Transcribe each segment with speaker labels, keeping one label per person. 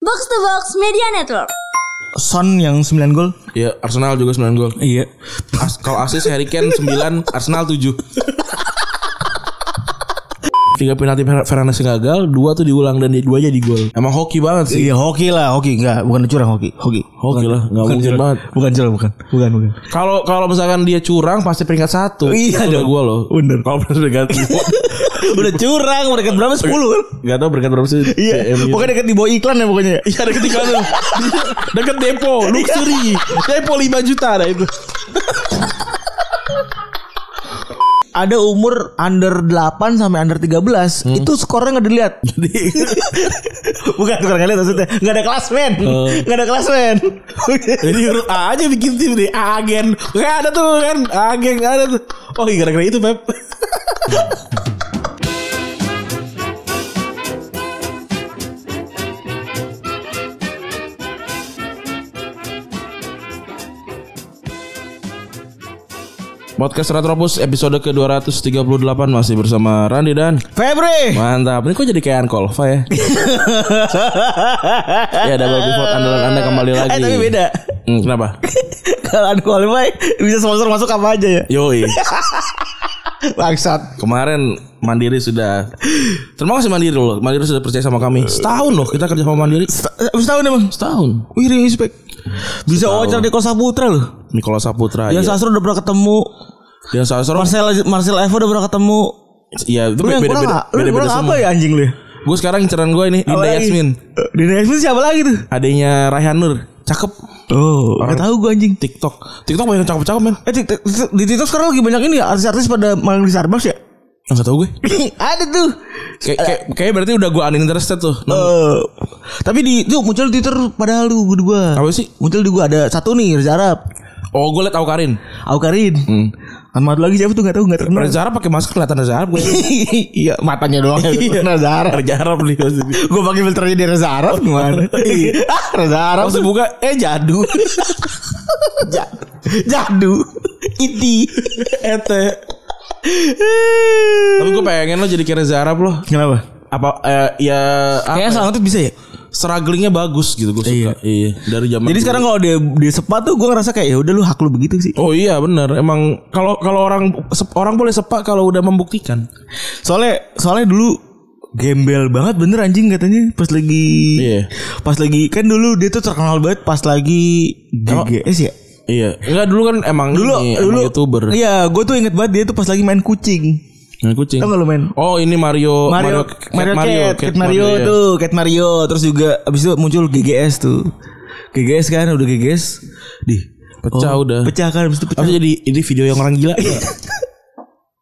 Speaker 1: Box to Box Media Network.
Speaker 2: Son yang 9 gol.
Speaker 3: Ya Arsenal juga 9 gol.
Speaker 2: Iya.
Speaker 3: As- kalau asis Harry Kane 9, Arsenal 7. Tiga penalti Fer- Fernandes gagal, dua tuh diulang dan di- dua jadi gol. Emang hoki banget sih.
Speaker 2: Iya hoki lah, hoki enggak, bukan curang hoki, hoki.
Speaker 3: Hoki lah, nggak mungkin
Speaker 2: curang.
Speaker 3: banget.
Speaker 2: Bukan curang, bukan. Bukan, bukan.
Speaker 3: Kalau kalau misalkan dia curang pasti peringkat satu.
Speaker 2: Iya
Speaker 3: Itu udah
Speaker 2: dong.
Speaker 3: gua loh.
Speaker 2: Bener.
Speaker 3: Kalau peringkat dua,
Speaker 2: Udah curang, udah dekat berapa? 10 kan?
Speaker 3: nggak tahu peringkat berapa sih.
Speaker 2: Iya.
Speaker 3: DM gitu.
Speaker 2: Pokoknya dekat di bawah iklan ya pokoknya.
Speaker 3: Iya deket iklan tuh. Deket depo Luxury
Speaker 2: Iya.
Speaker 3: Depo 5 juta ada itu
Speaker 2: Ada umur under 8 sampai under 13,
Speaker 3: Hmm.
Speaker 2: itu skornya enggak dilihat. Jadi bukan tukar kali maksudnya, enggak ada kelas men. Enggak ada kelas men.
Speaker 3: Oh. Jadi huruf A aja bikin tim deh Agen Gak ada tuh kan Agen gak ada tuh Oh iya gara-gara itu Beb Podcast Retropus episode ke-238 masih bersama Randi dan
Speaker 2: Febri.
Speaker 3: Mantap, ini kok jadi kayak Ankolva ya? ya double pivot andalan Anda kembali lagi.
Speaker 2: Eh tapi beda.
Speaker 3: Hmm, kenapa?
Speaker 2: Kalau unqualified bisa sponsor masuk apa aja ya.
Speaker 3: Yoi.
Speaker 2: Bangsat.
Speaker 3: Kemarin Mandiri sudah Terima kasih Mandiri loh Mandiri sudah percaya sama kami Setahun loh kita kerja sama Mandiri
Speaker 2: Habis tahun emang.
Speaker 3: Setahun
Speaker 2: Wih respect. Bisa wawancara di Kosa Putra loh.
Speaker 3: Nikola Saputra
Speaker 2: Yang
Speaker 3: iya.
Speaker 2: Sastro udah pernah ketemu.
Speaker 3: Dan Sastro
Speaker 2: Marcel Marcel Evo udah pernah ketemu.
Speaker 3: Iya itu
Speaker 2: Lu yang kurang
Speaker 3: beda-beda beda,
Speaker 2: apa? Lu yang kurang apa
Speaker 3: semua
Speaker 2: ya anjing lu?
Speaker 3: Gue sekarang inceran gue ini Dinda Yasmin
Speaker 2: Dinda Yasmin siapa lagi tuh?
Speaker 3: Adanya Raihan Nur Cakep
Speaker 2: Oh,
Speaker 3: Orang-
Speaker 2: enggak tahu gua anjing.
Speaker 3: TikTok TikTok banyak yang cakep-cakep men
Speaker 2: Eh, Tik- Tik- Tik- di TikTok sekarang lagi banyak ini ya artis-artis pada main di Starbucks ya?
Speaker 3: Gak tau gue
Speaker 2: Ada tuh.
Speaker 3: Kayak kayak- kayaknya berarti udah gue uninterested tuh Nah,
Speaker 2: Eh, tapi di tuh muncul di Twitter padahal lu gua dua.
Speaker 3: Apa sih?
Speaker 2: Muncul di gua ada satu nih Reza Arab,
Speaker 3: Oh gue liat Aukarin
Speaker 2: Aukarin.
Speaker 3: Hmm.
Speaker 2: Sama satu lagi siapa tuh enggak tahu enggak terkenal.
Speaker 3: Reza Arab pakai masker kelihatan Reza Arab gue
Speaker 2: iya matanya doang
Speaker 3: Iya.
Speaker 2: Reza Arab
Speaker 3: Reza Arab nih maksudnya.
Speaker 2: Gue pakai filternya di Reza Arab Oh, gimana Iya. ah, Reza Arab
Speaker 3: Langsung buka Eh jadu
Speaker 2: jadu Jadu Iti
Speaker 3: Ete Tapi gue pengen lo jadi kayak Reza Arab loh.
Speaker 2: Kenapa?
Speaker 3: Apa eh, ya apa
Speaker 2: Kayaknya
Speaker 3: ya?
Speaker 2: selang tuh bisa ya
Speaker 3: strugglingnya bagus gitu gue suka. Iya. Dari zaman.
Speaker 2: Jadi
Speaker 3: dulu.
Speaker 2: sekarang kalau dia dia sepat tuh gue ngerasa kayak ya udah lu hak lu begitu sih.
Speaker 3: Oh iya benar emang kalau kalau orang sep- orang boleh sepak kalau udah membuktikan.
Speaker 2: Soalnya soalnya dulu gembel banget bener anjing katanya pas lagi
Speaker 3: Iya.
Speaker 2: pas lagi kan dulu dia tuh terkenal banget pas lagi GGS ya.
Speaker 3: Iya. Enggak dulu kan emang
Speaker 2: Dulu
Speaker 3: Oh. ini, emang
Speaker 2: dulu
Speaker 3: youtuber.
Speaker 2: Iya, gue tuh inget banget dia tuh pas lagi main kucing.
Speaker 3: Yang kucing.
Speaker 2: Tau gak lu main?
Speaker 3: Oh ini Mario
Speaker 2: Mario Mario Cat, Mario, Cat, Mario,
Speaker 3: iya.
Speaker 2: tuh, Cat Mario. Terus juga abis itu muncul GGS tuh. GGS kan udah GGS. Di
Speaker 3: Pecah udah.
Speaker 2: Pecah kan abis itu pecah.
Speaker 3: Apa sih jadi ini video yang orang gila?
Speaker 2: Iya.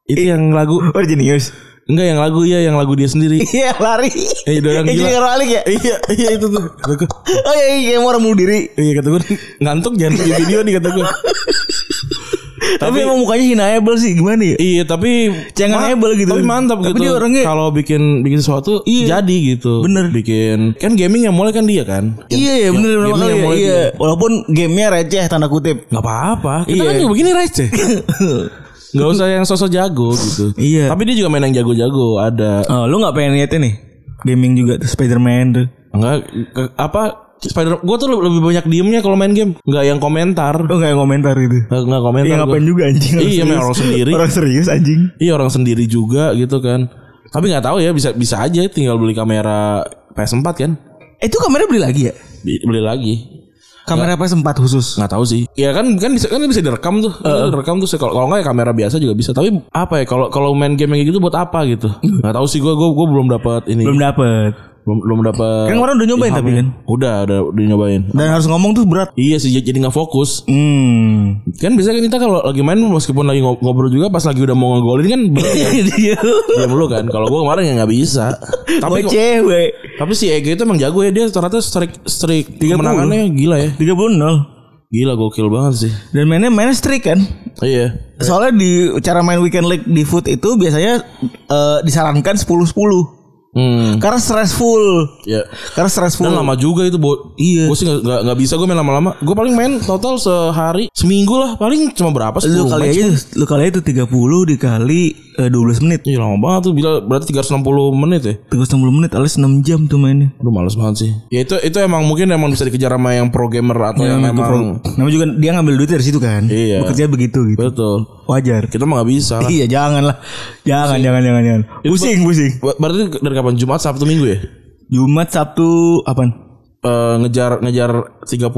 Speaker 3: itu yang lagu
Speaker 2: Oh jenius.
Speaker 3: enggak yang lagu ya yang lagu dia sendiri.
Speaker 2: Iya lari.
Speaker 3: Eh, udah orang
Speaker 2: Yang
Speaker 3: gila.
Speaker 2: jadi ngeralik ya.
Speaker 3: iya iya itu tuh. Kata gua,
Speaker 2: Oh iya, iya kayak mau orang bunuh diri.
Speaker 3: Iya kata gue ngantuk jangan bikin video nih kata gue.
Speaker 2: Tapi, emang mukanya hinaable sih gimana ya?
Speaker 3: iya tapi
Speaker 2: Cengengebel gitu.
Speaker 3: Tapi mantap
Speaker 2: Tapi
Speaker 3: gitu.
Speaker 2: dia orangnya- Iya.
Speaker 3: kalau bikin bikin sesuatu jadi gitu.
Speaker 2: Bener.
Speaker 3: Bikin kan gaming yang mulai kan dia kan.
Speaker 2: Iya ya bener bener
Speaker 3: gamenya
Speaker 2: kali ya.
Speaker 3: mulai
Speaker 2: Iya. Walaupun gamenya receh tanda kutip.
Speaker 3: Gak apa-apa.
Speaker 2: Iya.
Speaker 3: Kita kan juga begini receh. Gak usah yang sosok jago gitu.
Speaker 2: Iya.
Speaker 3: Tapi dia juga main yang jago-jago ada.
Speaker 2: Oh, lu nggak pengen liatin nih? Gaming juga tuh Spider-Man tuh.
Speaker 3: Enggak ke- apa Spider gue tuh lebih banyak diemnya kalau main game. Gak yang komentar.
Speaker 2: Lu kayak komentar gitu.
Speaker 3: Gak, gak komentar.
Speaker 2: Iya
Speaker 3: gua.
Speaker 2: ngapain juga anjing.
Speaker 3: Iya,
Speaker 2: Orang
Speaker 3: emang
Speaker 2: serius.
Speaker 3: orang sendiri.
Speaker 2: Orang serius anjing.
Speaker 3: Iya orang sendiri juga gitu kan. Tapi nggak tahu ya bisa bisa aja tinggal beli kamera PS4 kan.
Speaker 2: Eh, Itu kamera beli lagi ya?
Speaker 3: Bi- Beli lagi.
Speaker 2: Kamera PS4 khusus.
Speaker 3: Nggak tahu sih. Ya kan kan bisa kan bisa direkam tuh. Kan Direkam tuh kalau kalau nggak ya kamera biasa juga bisa. Tapi apa ya kalau kalau main game yang kayak gitu buat apa gitu? Nggak tahu sih gua gua, gua belum dapat ini.
Speaker 2: Belum dapet.
Speaker 3: Belum belum dapat.
Speaker 2: Kan kemarin udah nyobain tapi kan.
Speaker 3: Udah udah udah nyobain.
Speaker 2: Dan harus ngomong tuh berat.
Speaker 3: Iya sih jadi nggak fokus.
Speaker 2: Hmm.
Speaker 3: Kan biasanya kan kita kalau lagi main meskipun lagi ngob- ngobrol juga pas lagi udah mau ngegolin kan berhenti.
Speaker 2: Dia
Speaker 3: diam dulu kan. Kalau gua kemarin ya nggak bisa. Tapi kok-
Speaker 2: cewek.
Speaker 3: Tapi si Ege itu emang jago ya dia ternyata streak streak kemenangannya gila ya.
Speaker 2: 30
Speaker 3: Gila gokil banget sih.
Speaker 2: Dan mainnya mainnya streak kan.
Speaker 3: Iya.
Speaker 2: Gitu. Soalnya di cara main weekend league di foot itu biasanya eh, disarankan 10 10.
Speaker 3: Hmm.
Speaker 2: Karena stressful.
Speaker 3: Ya.
Speaker 2: Karena stressful.
Speaker 3: Dan lama juga itu buat
Speaker 2: Iya.
Speaker 3: Gue sih gak, gak, gak bisa gue main lama-lama Gue paling main total sehari Seminggu lah Paling cuma berapa
Speaker 2: Lu
Speaker 3: 10
Speaker 2: kali
Speaker 3: match.
Speaker 2: aja lu kali aja itu 30 dikali eh, 12 menit.
Speaker 3: Iya lama banget tuh bila berarti 360 menit ya.
Speaker 2: 360 menit alias 6 jam tuh mainnya.
Speaker 3: Aduh males banget sih. Ya itu itu emang mungkin emang bisa dikejar sama yang pro gamer atau yang
Speaker 2: Itu Iya, pro.
Speaker 3: emang
Speaker 2: Namanya juga dia ngambil duit dari situ kan.
Speaker 3: Iya.
Speaker 2: Bekerja begitu gitu.
Speaker 3: betul.
Speaker 2: Wajar.
Speaker 3: Kita mah nggak bisa. lah.
Speaker 2: Iya, jangan lah. Jangan, jangan, jangan, jangan. Pusing, pusing.
Speaker 3: Ber- Berarti dari kapan Jumat Sabtu Minggu ya?
Speaker 2: Jumat, Sabtu, apaan?
Speaker 3: Eh, ngejar ngejar 30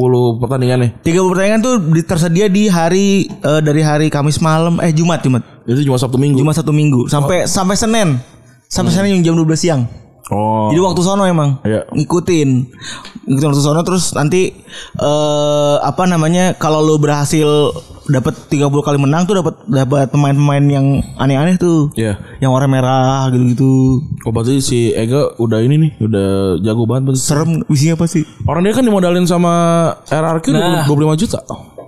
Speaker 3: pertandingan ya? nih.
Speaker 2: Tiga pertandingan tuh di- tersedia di hari eh, dari hari Kamis malam eh Jumat Jumat
Speaker 3: Itu cuma Sabtu Minggu.
Speaker 2: Jumat satu minggu sampai sampai Senin sampai Senin yang jam 12 siang.
Speaker 3: Hmm. Oh.
Speaker 2: Jadi waktu sono emang
Speaker 3: Iya.
Speaker 2: ngikutin ngikutin waktu sono terus nanti eh apa namanya kalau lo berhasil dapat 30 kali menang tuh dapat dapat pemain-pemain yang aneh-aneh tuh.
Speaker 3: Iya.
Speaker 2: Yang warna merah gitu-gitu.
Speaker 3: Oh berarti si Ega udah ini nih, udah jago banget. berarti.
Speaker 2: Serem isinya apa sih?
Speaker 3: Orang dia kan dimodalin sama RRQ
Speaker 2: Nah.
Speaker 3: 25 juta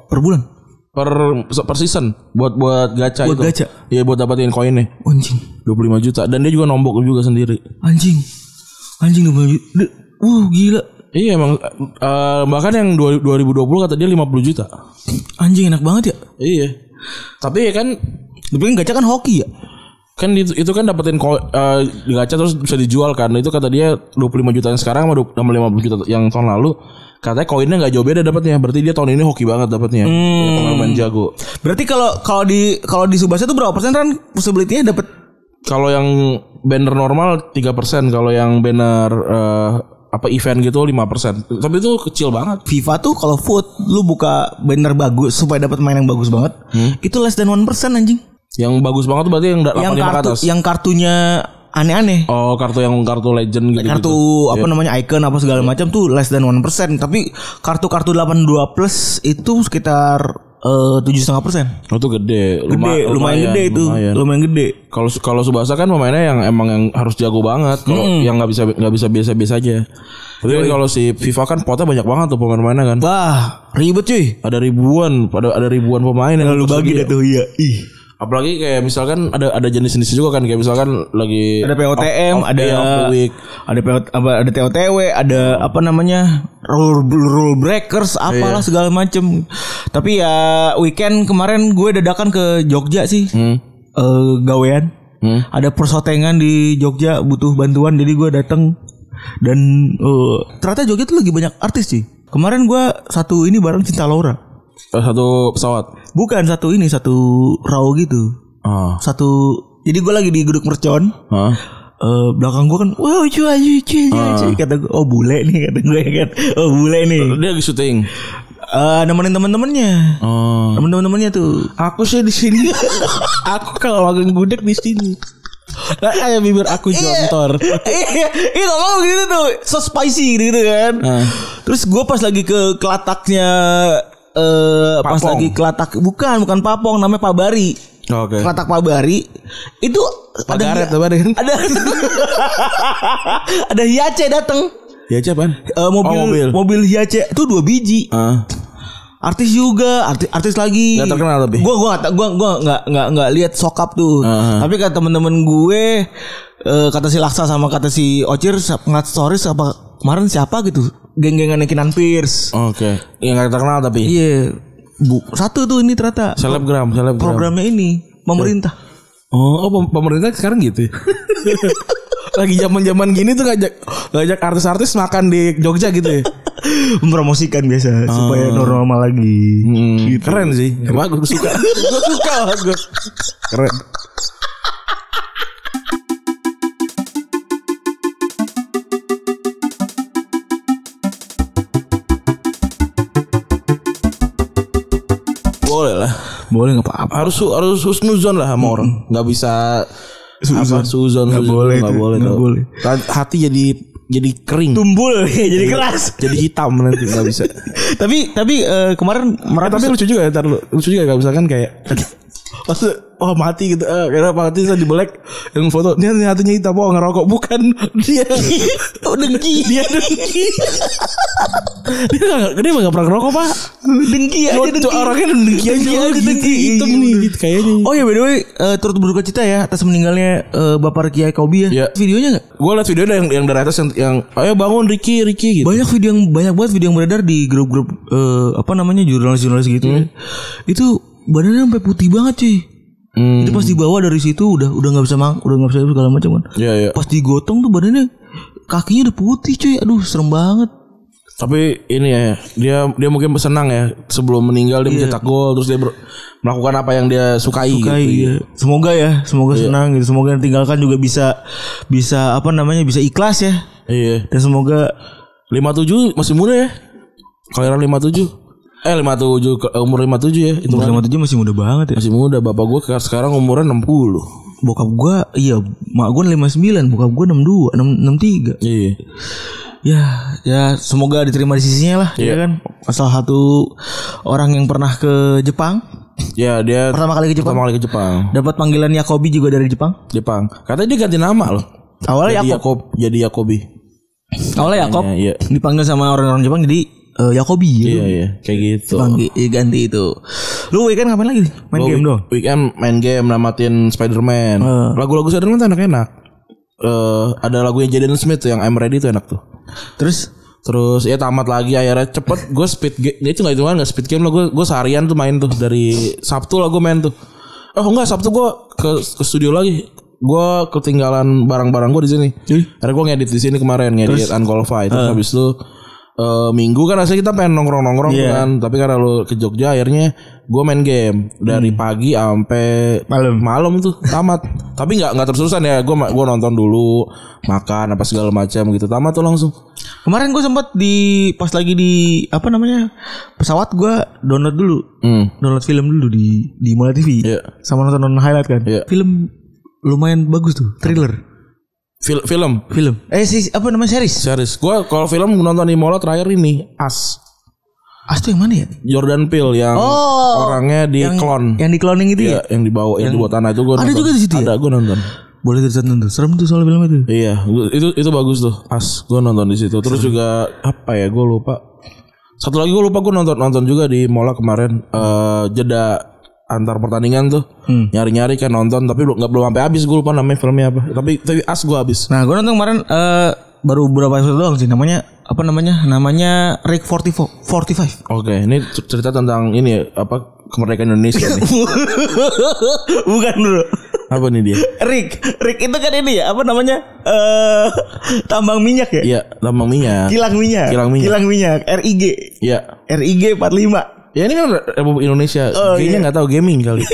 Speaker 2: Per bulan.
Speaker 3: per per season buat buat gacha
Speaker 2: Buat
Speaker 3: itu.
Speaker 2: gacha?
Speaker 3: Iya buat dapatin koinnya.
Speaker 2: Anjing.
Speaker 3: 25 juta dan dia juga nombok juga sendiri.
Speaker 2: Anjing. Anjing dua bulan. De- Wuh gila.
Speaker 3: Iya emang eh, bahkan yang dua- 2020 kata dia 50 juta.
Speaker 2: Anjing enak banget ya.
Speaker 3: Iya. Tapi ya kan
Speaker 2: Tapi kan gacha kan hoki ya.
Speaker 3: kan itu, itu kan dapetin ko, eh, di gacha terus bisa dijual kan. Itu kata dia 25 juta yang sekarang sama 20 sama 50 juta yang tahun lalu. Katanya koinnya nggak jauh beda dapatnya. Berarti dia tahun ini hoki banget dapatnya.
Speaker 2: Hmm.
Speaker 3: Punya Pengalaman jago.
Speaker 2: Berarti kalau kalau di kalau di Subasa itu berapa persen kan possibility-nya dapat
Speaker 3: Kalau yang banner normal 3%, kalau yang banner eh, apa event gitu 5%. Tapi itu kecil banget.
Speaker 2: FIFA tuh kalau food lu buka banner bagus supaya dapat main yang bagus banget.
Speaker 3: Hmm.
Speaker 2: Itu less than 1% anjing.
Speaker 3: Yang bagus banget tuh berarti yang da- 85
Speaker 2: Yang
Speaker 3: ke
Speaker 2: kartu
Speaker 3: atas.
Speaker 2: yang kartunya aneh-aneh.
Speaker 3: Oh, kartu yang kartu legend gitu. Iya.
Speaker 2: kartu apa namanya icon apa segala macam tuh less than 1%, tapi kartu-kartu 82 plus itu sekitar eh, tujuh setengah persen
Speaker 3: Oh, itu gede.
Speaker 2: gede
Speaker 3: Luma-
Speaker 2: lumayan, gede itu
Speaker 3: lumayan.
Speaker 2: lumayan gede
Speaker 3: Kalau kalau Subasa kan pemainnya yang emang yang harus jago banget. Kalau yang nggak bisa nggak bisa biasa-biasa aja. Tapi kan kalau si FIFA kan potnya banyak banget tuh pemain-pemainnya kan.
Speaker 2: wah ribet cuy
Speaker 3: Ada ribuan, ada ada ribuan pemain yang
Speaker 2: lalu
Speaker 3: terus
Speaker 2: bagi
Speaker 3: lagi- ya.
Speaker 2: deh tuh iya ih
Speaker 3: Apalagi kayak misalkan ada ada jenis-jenisnya juga kan kayak misalkan lagi
Speaker 2: ada POTM,
Speaker 3: Off- off
Speaker 2: ada
Speaker 3: day, off the week.
Speaker 2: ada POT, apa ada TOTW, ada apa namanya? rule rule breakers apalah segala macem Tapi ya weekend kemarin gue dadakan ke Jogja sih.
Speaker 3: Hmm.
Speaker 2: Eh, gawean.
Speaker 3: Hmm.
Speaker 2: Ada persotengan di Jogja butuh bantuan jadi gue datang dan eh, ternyata Jogja tuh lagi banyak artis sih. Kemarin gue satu ini bareng Cinta Laura.
Speaker 3: Eh, Satu pesawat.
Speaker 2: Bukan satu ini satu raw gitu.
Speaker 3: Ah.
Speaker 2: Satu jadi gue lagi di Gedung Mercon.
Speaker 3: Hah?
Speaker 2: Eh, belakang gue kan wow lucu aja lucu lucu, lucu."
Speaker 3: Ah.
Speaker 2: kata gue oh bule nih kata gue kan oh bule nih
Speaker 3: Dia lagi syuting.
Speaker 2: Eh nemenin teman-temannya
Speaker 3: Oh.
Speaker 2: temen teman-temannya tuh
Speaker 3: Aku sih di sini. aku kalau makan gudeg di sini. Nah, kayak bibir aku jontor.
Speaker 2: iya iya ngomong gitu tuh so spicy gitu, kan
Speaker 3: Ah.
Speaker 2: terus gue pas lagi ke kelataknya eh pas
Speaker 3: Papong.
Speaker 2: lagi kelatak bukan bukan papong namanya pabari
Speaker 3: Oke.
Speaker 2: kelatak pabari itu
Speaker 3: Pagaret
Speaker 2: ada
Speaker 3: apa kan?
Speaker 2: ada ada hiace dateng
Speaker 3: Ya aja pan.
Speaker 2: Eh, mobil,
Speaker 3: Oh,
Speaker 2: mobil
Speaker 3: mobil.
Speaker 2: hiace itu dua biji
Speaker 3: Ah.
Speaker 2: artis juga artis artis lagi
Speaker 3: Nggak terkenal tapi. Uh-huh.
Speaker 2: gue gue nggak gue gue nggak nggak nggak lihat sokap tuh
Speaker 3: Heeh.
Speaker 2: tapi kata temen-temen gue eh, kata si Laksa sama kata si Ocir sa- ngat stories apa kemarin siapa gitu geng-gengannya Kinan Pierce
Speaker 3: Oke. Yang nggak terkenal tapi.
Speaker 2: iya Bu- satu tuh ini ternyata
Speaker 3: Selebgram, selebgram.
Speaker 2: programnya ini pemerintah
Speaker 3: Oh, oh, pem- pemerintah sekarang gitu. ya? Lagi zaman-zaman gini tuh ngajak ngajak artis-artis makan di Jogja gitu ya. Ah.
Speaker 2: mempromosikan biasa supaya normal lagi Gitu.
Speaker 3: Hmm, Keren sih. Emang gue suka. gue suka lah gue. Keren. Boleh lah.
Speaker 2: boleh nggak apa-apa
Speaker 3: Harus su- harus husnuzon lah sama orang. Nggak bisa
Speaker 2: Suzon.
Speaker 3: apa suzon
Speaker 2: Nggak
Speaker 3: suzon.
Speaker 2: boleh
Speaker 3: nggak
Speaker 2: itu,
Speaker 3: boleh,
Speaker 2: nggak
Speaker 3: tuh.
Speaker 2: boleh.
Speaker 3: Hati jadi jadi kering.
Speaker 2: tumbul jadi keras
Speaker 3: Jadi hitam nanti nggak bisa.
Speaker 2: tapi tapi eh, kemarin
Speaker 3: Eh,
Speaker 2: merata
Speaker 3: tapi lucu juga ya ntar lu. Lucu juga kalau misalkan kayak Pas oh mati gitu eh, Karena mati saya dibelek Yang foto Dia nih hatinya hitam Oh ngerokok Bukan Dia
Speaker 2: Oh, dengki
Speaker 3: Dia dengki Dia gak, dia gak pernah ngerokok pak
Speaker 2: dengki aja
Speaker 3: Cuma-
Speaker 2: dengki
Speaker 3: cuma Orangnya dengki aja
Speaker 2: Dengki
Speaker 3: Oh,
Speaker 2: aja,
Speaker 3: gitu,
Speaker 2: dengki.
Speaker 3: Hitam
Speaker 2: Iya,
Speaker 3: nih
Speaker 2: bener.
Speaker 3: gitu, Kayaknya
Speaker 2: Oh ya by the way eh, turut berduka cita ya atas meninggalnya eh, Bapak Kiai Kobi ya.
Speaker 3: Iya.
Speaker 2: Videonya nggak?
Speaker 3: Gue liat video yang, yang dari atas yang, yang Ayo bangun Ricky Ricky gitu
Speaker 2: Banyak video yang banyak banget video yang beredar di grup-grup
Speaker 3: Hmm.
Speaker 2: eh, apa namanya jurnalis-jurnalis gitu. ya. Itu badannya sampai putih banget cuy.
Speaker 3: Hmm.
Speaker 2: Itu pas dibawa dari situ udah udah nggak bisa mang, udah nggak bisa segala macam kan.
Speaker 3: Iya, iya.
Speaker 2: Pas digotong tuh badannya kakinya udah putih cuy. Aduh, serem banget.
Speaker 3: Tapi ini ya, dia dia mungkin senang ya sebelum meninggal dia
Speaker 2: Iya.
Speaker 3: mencetak gol terus dia ber- melakukan apa yang dia sukai,
Speaker 2: Kayak
Speaker 3: gitu.
Speaker 2: iya. Semoga ya, semoga senang gitu. Semoga yang tinggalkan juga bisa bisa apa namanya? bisa ikhlas ya.
Speaker 3: Iya.
Speaker 2: Dan semoga
Speaker 3: 57 masih muda ya. Kelahiran 57. Eh 57 ke- umur 57 ya. Itu
Speaker 2: umur 57 masih muda banget ya.
Speaker 3: masih muda. Bapak gua ke- sekarang umurnya 60.
Speaker 2: Bokap gua iya, mak gua 59, bokap gua 62, 6, 63.
Speaker 3: Iya.
Speaker 2: Ya, ya semoga diterima di sisinya lah, ya kan. Salah satu orang yang pernah ke Jepang,
Speaker 3: Ya dia
Speaker 2: pertama kali ke Jepang,
Speaker 3: pertama kali ke Jepang.
Speaker 2: dapat panggilan Yakobi juga dari Jepang.
Speaker 3: Jepang. Katanya dia ganti nama loh.
Speaker 2: Awalnya
Speaker 3: Jadi
Speaker 2: Yakob,
Speaker 3: Yakob, jadi Yakobi.
Speaker 2: awalnya Yakob
Speaker 3: Ya, Iya.
Speaker 2: dipanggil sama orang-orang Jepang jadi eh, Yakobi ya.
Speaker 3: Iya, iya, kayak gitu.
Speaker 2: Panggil eh, ganti itu. Lu weekend ngapain lagi? Main
Speaker 3: Gua
Speaker 2: game
Speaker 3: week-
Speaker 2: dong.
Speaker 3: Weekend main game namatin Spider-Man. Lagu-lagu Spider-Man tuh enak-enak. Eh ada lagunya Jaden Smith tuh yang I'm Ready tuh enak tuh.
Speaker 2: Terus
Speaker 3: Terus ya tamat lagi akhirnya cepet gue speed game dia itu nggak hitungan nggak speed game lah gue gue seharian tuh main tuh dari Sabtu lah gue main tuh oh enggak Sabtu gue ke ke studio lagi gue ketinggalan barang-barang gue di sini akhirnya gue ngedit di sini kemarin ngedit Unqualified terus Ah. habis itu eh, minggu kan asli kita pengen nongkrong-nongkrong tuh kan tapi karena lu ke Jogja akhirnya gue main game dari pagi sampai
Speaker 2: Malam.
Speaker 3: Hmm. malam tuh tamat tapi nggak nggak terus-terusan ya gue gua nonton dulu makan apa segala macam gitu tamat tuh langsung
Speaker 2: kemarin gue sempat di pas lagi di apa namanya pesawat gua download dulu,
Speaker 3: hmm.
Speaker 2: download film dulu di di Mola TV.
Speaker 3: Iya.
Speaker 2: Sama nonton nonton highlight kan.
Speaker 3: Iya.
Speaker 2: Film lumayan bagus tuh, thriller.
Speaker 3: Fil- film
Speaker 2: Film. Eh si apa namanya series?
Speaker 3: series gua kalau film nonton di Mola terakhir ini As
Speaker 2: As tuh yang mana ya?
Speaker 3: Jordan Peele yang
Speaker 2: Oh.
Speaker 3: orangnya di klon
Speaker 2: Yang di cloning itu
Speaker 3: Iya,
Speaker 2: ya?
Speaker 3: yang dibawa yang, dibuat tanah itu gua
Speaker 2: Ada
Speaker 3: nonton.
Speaker 2: juga di situ ya?
Speaker 3: ada gua nonton
Speaker 2: Boleh ditonton tuh. Serem tuh soal film itu.
Speaker 3: iya gua- itu itu bagus tuh As gua nonton di situ terus juga apa ya gua lupa satu lagi gua lupa gua nonton nonton juga di Mola kemarin eh, jeda antar pertandingan tuh
Speaker 2: Hmm.
Speaker 3: nyari-nyari kan nonton tapi belum nggak belum sampai habis gua lupa namanya filmnya apa tapi tapi As gua habis
Speaker 2: Nah, gue nonton kemarin eh baru beberapa episode doang sih namanya apa namanya? Namanya Rick 44 45.
Speaker 3: oke ini cerita tentang ini ya, apa kemerdekaan Indonesia nih
Speaker 2: Bukan dulu.
Speaker 3: apa nih dia
Speaker 2: Rick, Rick itu kan ini ya, apa namanya? Eh tambang minyak ya?
Speaker 3: Iya, lambang minyak.
Speaker 2: Kilang minyak.
Speaker 3: Kilang minyak.
Speaker 2: Kilang minyak, RIG.
Speaker 3: Iya.
Speaker 2: RIG 45.
Speaker 3: Ya ini kan Republik Indonesia.
Speaker 2: Oh,
Speaker 3: Kayaknya nggak tahu gaming kali.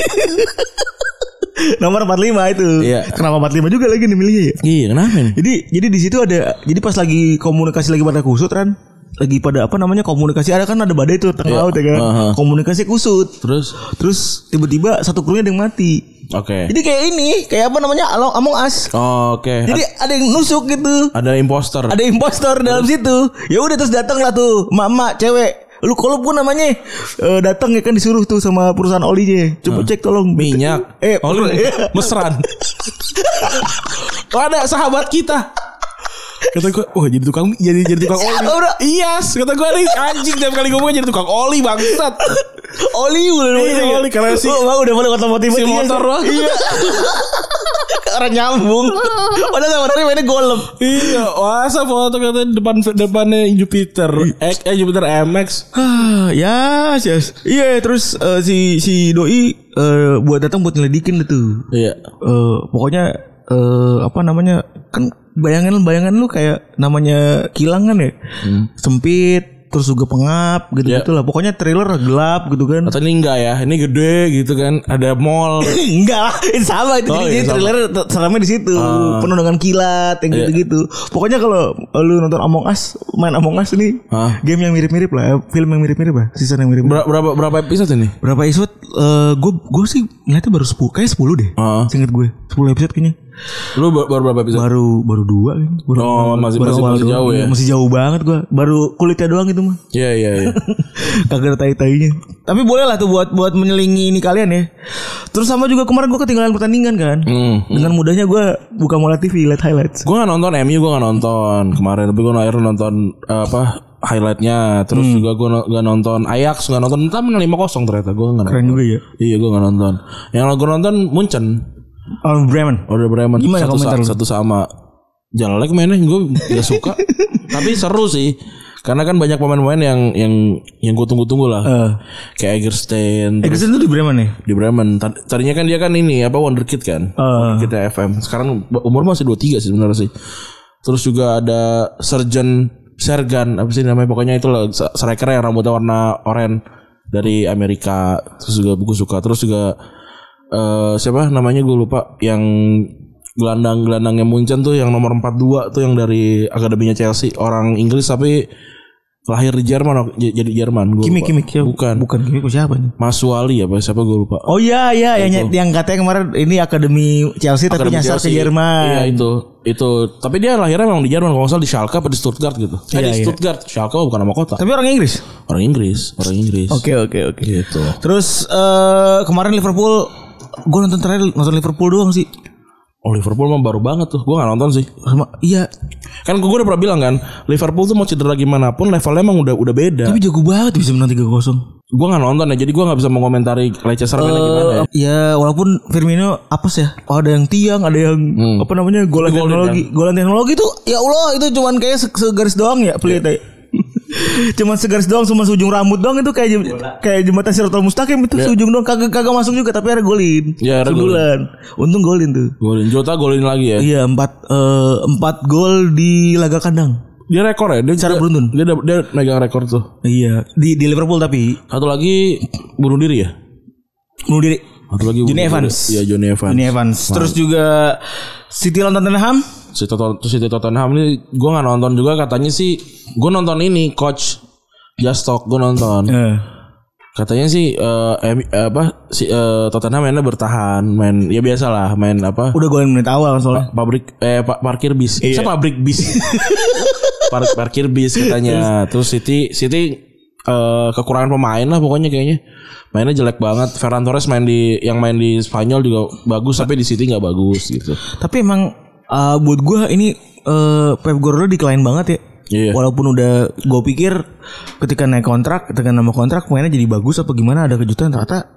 Speaker 2: Nomor 45 itu.
Speaker 3: Iya.
Speaker 2: Kenapa 45 juga lagi nih milihnya ya?
Speaker 3: iya, kenapa nih?
Speaker 2: Jadi jadi di situ ada jadi pas lagi komunikasi lagi pada kusut kan lagi pada apa namanya komunikasi ada kan ada badai tuh tengah
Speaker 3: Iya.
Speaker 2: laut ya kan
Speaker 3: Aha.
Speaker 2: komunikasi kusut
Speaker 3: Terus
Speaker 2: terus tiba-tiba satu krunya ada yang mati
Speaker 3: oke.
Speaker 2: jadi kayak ini kayak apa namanya along among us
Speaker 3: Oh, oke.
Speaker 2: jadi ada yang nusuk gitu
Speaker 3: Ada imposter.
Speaker 2: ada impostor dalam situ ya udah terus datang lah tuh mama cewek lu kalau pun namanya eh, datang ya kan disuruh tuh sama perusahaan olinya coba cek tolong
Speaker 3: minyak.
Speaker 2: eh
Speaker 3: oh, lu- mesran. oh, ada sahabat kita. Kata gue, wah jadi tukang jadi jadi tukang oli.
Speaker 2: Siapa, bro?
Speaker 3: Iya, kata gue nih anjing tiap kali ngomong jadi tukang oli bangsat.
Speaker 2: oli udah
Speaker 3: Iya, oli, karena si-
Speaker 2: oh, bang, udah mulai otomotif
Speaker 3: Si motor doang.
Speaker 2: iya orang nyambung padahal sama motornya mainnya golem
Speaker 3: Iya, masa foto kata depan depannya Jupiter, X, eh Jupiter MX.
Speaker 2: Ah, ya, yes. Iya, terus eh, si si doi eh, buat datang buat nyelidikin itu.
Speaker 3: Iya.
Speaker 2: Eh, pokoknya eh, apa namanya kan bayangan bayangan lu kayak namanya kilangan ya
Speaker 3: Hmm.
Speaker 2: sempit terus juga pengap gitu
Speaker 3: Ya.
Speaker 2: gitu lah pokoknya trailer gelap gitu kan
Speaker 3: Atau ini enggak ya Ini gede gitu kan Ada mall
Speaker 2: enggak lah itu sama itu
Speaker 3: Oh,
Speaker 2: jadi, jadi
Speaker 3: iya, sama. Ah. Iya.
Speaker 2: trailer t- seramnya di situ penuh dengan kilat yang gitu gitu pokoknya kalau lu nonton Among Us main Among Us ini
Speaker 3: Hah?
Speaker 2: game yang mirip mirip lah eh, film yang mirip mirip lah season yang mirip mirip
Speaker 3: Ber- Berapa berapa episode ini?
Speaker 2: Berapa episode? Eh, gue gue sih ngeliatnya baru 10 kayak 10 deh.
Speaker 3: Heeh.
Speaker 2: Seingat gue 10 episode kayaknya.
Speaker 3: Lu ber- baru berapa episode?
Speaker 2: Baru baru dua kayaknya. Baru,
Speaker 3: Oh, masih-
Speaker 2: awal
Speaker 3: masih- masih
Speaker 2: doang. Iya,
Speaker 3: jauh ya?
Speaker 2: Masih jauh banget gue. Baru kulitnya doang itu mah.
Speaker 3: Iya iya iya
Speaker 2: Kagak ada tai-tainya. Tapi boleh lah tuh buat buat menyelingi ini kalian ya. Terus sama juga kemarin gue ketinggalan pertandingan kan.
Speaker 3: hmm.
Speaker 2: Dengan mudahnya gue buka Mola TV lihat highlights.
Speaker 3: Gue gak nonton MU Gue gak nonton Kemarin Tapi gue akhirnya nonton eh, Apa Highlightnya Terus
Speaker 2: Hmm.
Speaker 3: juga gue gak nonton Ajax Gak nonton Entah menang 5-0 ternyata Gue gak nonton
Speaker 2: Keren juga ya.
Speaker 3: Iya gue gak nonton Yang gue nonton Munchen
Speaker 2: Oh, Bremen.
Speaker 3: Order Bremen
Speaker 2: Gimana
Speaker 3: satu,
Speaker 2: komentar
Speaker 3: sa-
Speaker 2: lu?
Speaker 3: satu sama Jelek mainnya Gue gak suka Tapi seru sih Karena kan banyak pemain-pemain yang yang yang gue tunggu-tunggu lah.
Speaker 2: Eh.
Speaker 3: Kayak Egerstein terus
Speaker 2: Eggerson tuh di Bremen ya?
Speaker 3: di Bremen. Tad- Tadinya kan dia kan ini apa wonderkid kan.
Speaker 2: Eh.
Speaker 3: Kita FM. Sekarang umur masih 23 sih sebenarnya sih. Terus juga ada Sergeant Sergan apa sih namanya pokoknya itu lah se- striker yang rambutnya warna oranye dari Amerika. Terus juga buku suka. Terus juga eh siapa namanya gue lupa yang gelandang-gelandangnya Munchen tuh yang nomor 42 tuh yang dari akademinya Chelsea orang Inggris tapi lahir di Jerman j- jadi Jerman gue
Speaker 2: Kimi Kimi siapa?
Speaker 3: bukan
Speaker 2: Bukan Kimi kok siapa nih?
Speaker 3: Mas Wali apa siapa gue lupa
Speaker 2: Oh iya iya yang yang katanya kemarin ini akademi Chelsea tapi
Speaker 3: Akademi
Speaker 2: nyasar ke
Speaker 3: Chelsea. Iya
Speaker 2: Jerman.
Speaker 3: itu itu tapi dia lahirnya memang di Jerman kalau nggak salah di Schalke apa di Stuttgart gitu eh,
Speaker 2: Iya,
Speaker 3: di
Speaker 2: iya.
Speaker 3: Stuttgart Schalke bukan nama kota
Speaker 2: Tapi orang Inggris.
Speaker 3: orang Inggris orang Inggris
Speaker 2: Oke oke oke.
Speaker 3: gitu
Speaker 2: Terus eh kemarin Liverpool gue nonton terakhir nonton Liverpool doang sih.
Speaker 3: oh Liverpool mah baru banget tuh gue nggak nonton sih
Speaker 2: Sama- iya,
Speaker 3: kan gue udah pernah bilang kan Liverpool tuh mau cedera gimana pun levelnya emang udah udah beda
Speaker 2: tapi jago banget bisa menang 3-0.
Speaker 3: gue nggak nonton ya jadi gue nggak bisa mengomentari Leicester mainnya gimana ya
Speaker 2: Ya walaupun Firmino apa sih ya? Oh, ada yang tiang, ada yang apa namanya? Golan
Speaker 3: Golden
Speaker 2: teknologi. Golan teknologi tuh ya Allah itu cuman kayak se- segaris doang ya pelit ya. cuman segaris doang cuma seujung rambut doang itu kayak jem- kayak jembatan Siratul Mustaqim itu seujung doang kagak kagak masuk juga tapi ada golin.
Speaker 3: Ya, ada golin.
Speaker 2: Sundulan. Untung golin tuh.
Speaker 3: golin Jota golin lagi ya
Speaker 2: Iya, empat eh, empat gol di laga kandang.
Speaker 3: dia rekor ya dia
Speaker 2: Secara
Speaker 3: dia-
Speaker 2: beruntun.
Speaker 3: dia, dia, megang rekor tuh
Speaker 2: Iya, di di Liverpool tapi
Speaker 3: satu lagi bunuh diri ya
Speaker 2: bunuh diri.
Speaker 3: satu lagi
Speaker 2: Johnny
Speaker 3: bunuh diri.
Speaker 2: Evans.
Speaker 3: iya Johnny Evans
Speaker 2: Ini Evans. Terus juga City lawan Tottenham.
Speaker 3: si Totten- si Tottenham ini gue nggak nonton juga katanya sih gue nonton ini coach Just Talk gue nonton
Speaker 2: Iya.
Speaker 3: katanya sih eh, em- apa si eh, Tottenham mainnya bertahan main ya biasalah main apa
Speaker 2: Udah golin menit awal soalnya.
Speaker 3: pabrik eh pa- parkir bis Masa pabrik bis Par- parkir bis katanya terus City City eh, kekurangan pemain lah pokoknya kayaknya mainnya jelek banget Ferran Torres main di yang main di Spanyol juga bagus tapi di City nggak bagus gitu
Speaker 2: Tapi emang eh, buat gua ini eh, Pep Guardiola decline banget ya.
Speaker 3: Iya.
Speaker 2: Walaupun udah gue pikir ketika naik kontrak, ketika nama kontrak mainnya jadi bagus apa gimana ada kejutan ternyata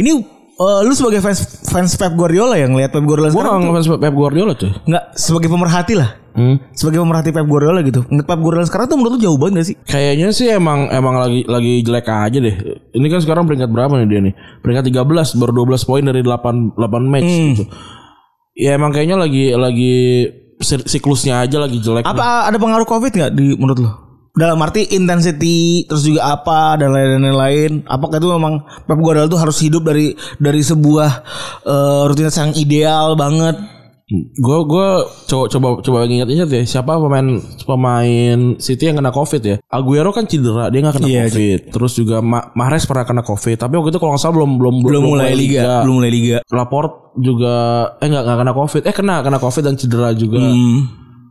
Speaker 2: ini eh, lu sebagai fans fans Pep Guardiola yang lihat Pep Guardiola
Speaker 3: gue
Speaker 2: sekarang
Speaker 3: nggak ngefans Pep Guardiola tuh
Speaker 2: nggak sebagai pemerhati lah
Speaker 3: hmm.
Speaker 2: sebagai pemerhati Pep Guardiola gitu. Pep Guardiola sekarang tuh menurut lu jauh banget gak sih?
Speaker 3: Kayaknya sih emang emang lagi lagi jelek aja deh. Ini kan sekarang peringkat berapa nih dia nih? Peringkat 13 baru 12 poin dari 8 8 match
Speaker 2: Hmm.
Speaker 3: gitu. Ya emang kayaknya lagi lagi sir- siklusnya aja lagi jelek.
Speaker 2: Apa ada pengaruh COVID nggak di menurut lo? Dalam arti intensity terus juga apa dan lain- dan lain-lain. Apakah itu memang Pep Guardiola tuh harus hidup dari dari sebuah eh, rutinitas yang ideal banget?
Speaker 3: Gue gue Hmm. coba coba coba ingat-ingat ya siapa pemain pemain City yang kena Covid ya. Aguero kan cedera, dia nggak kena
Speaker 2: Iya,
Speaker 3: Covid. Terus juga Ma Mahrez pernah kena Covid, tapi waktu itu kalau nggak salah belum belum
Speaker 2: belum mulai liga.
Speaker 3: Laport juga eh nggak nggak kena Covid. Eh kena kena Covid dan cedera juga.
Speaker 2: Hmm.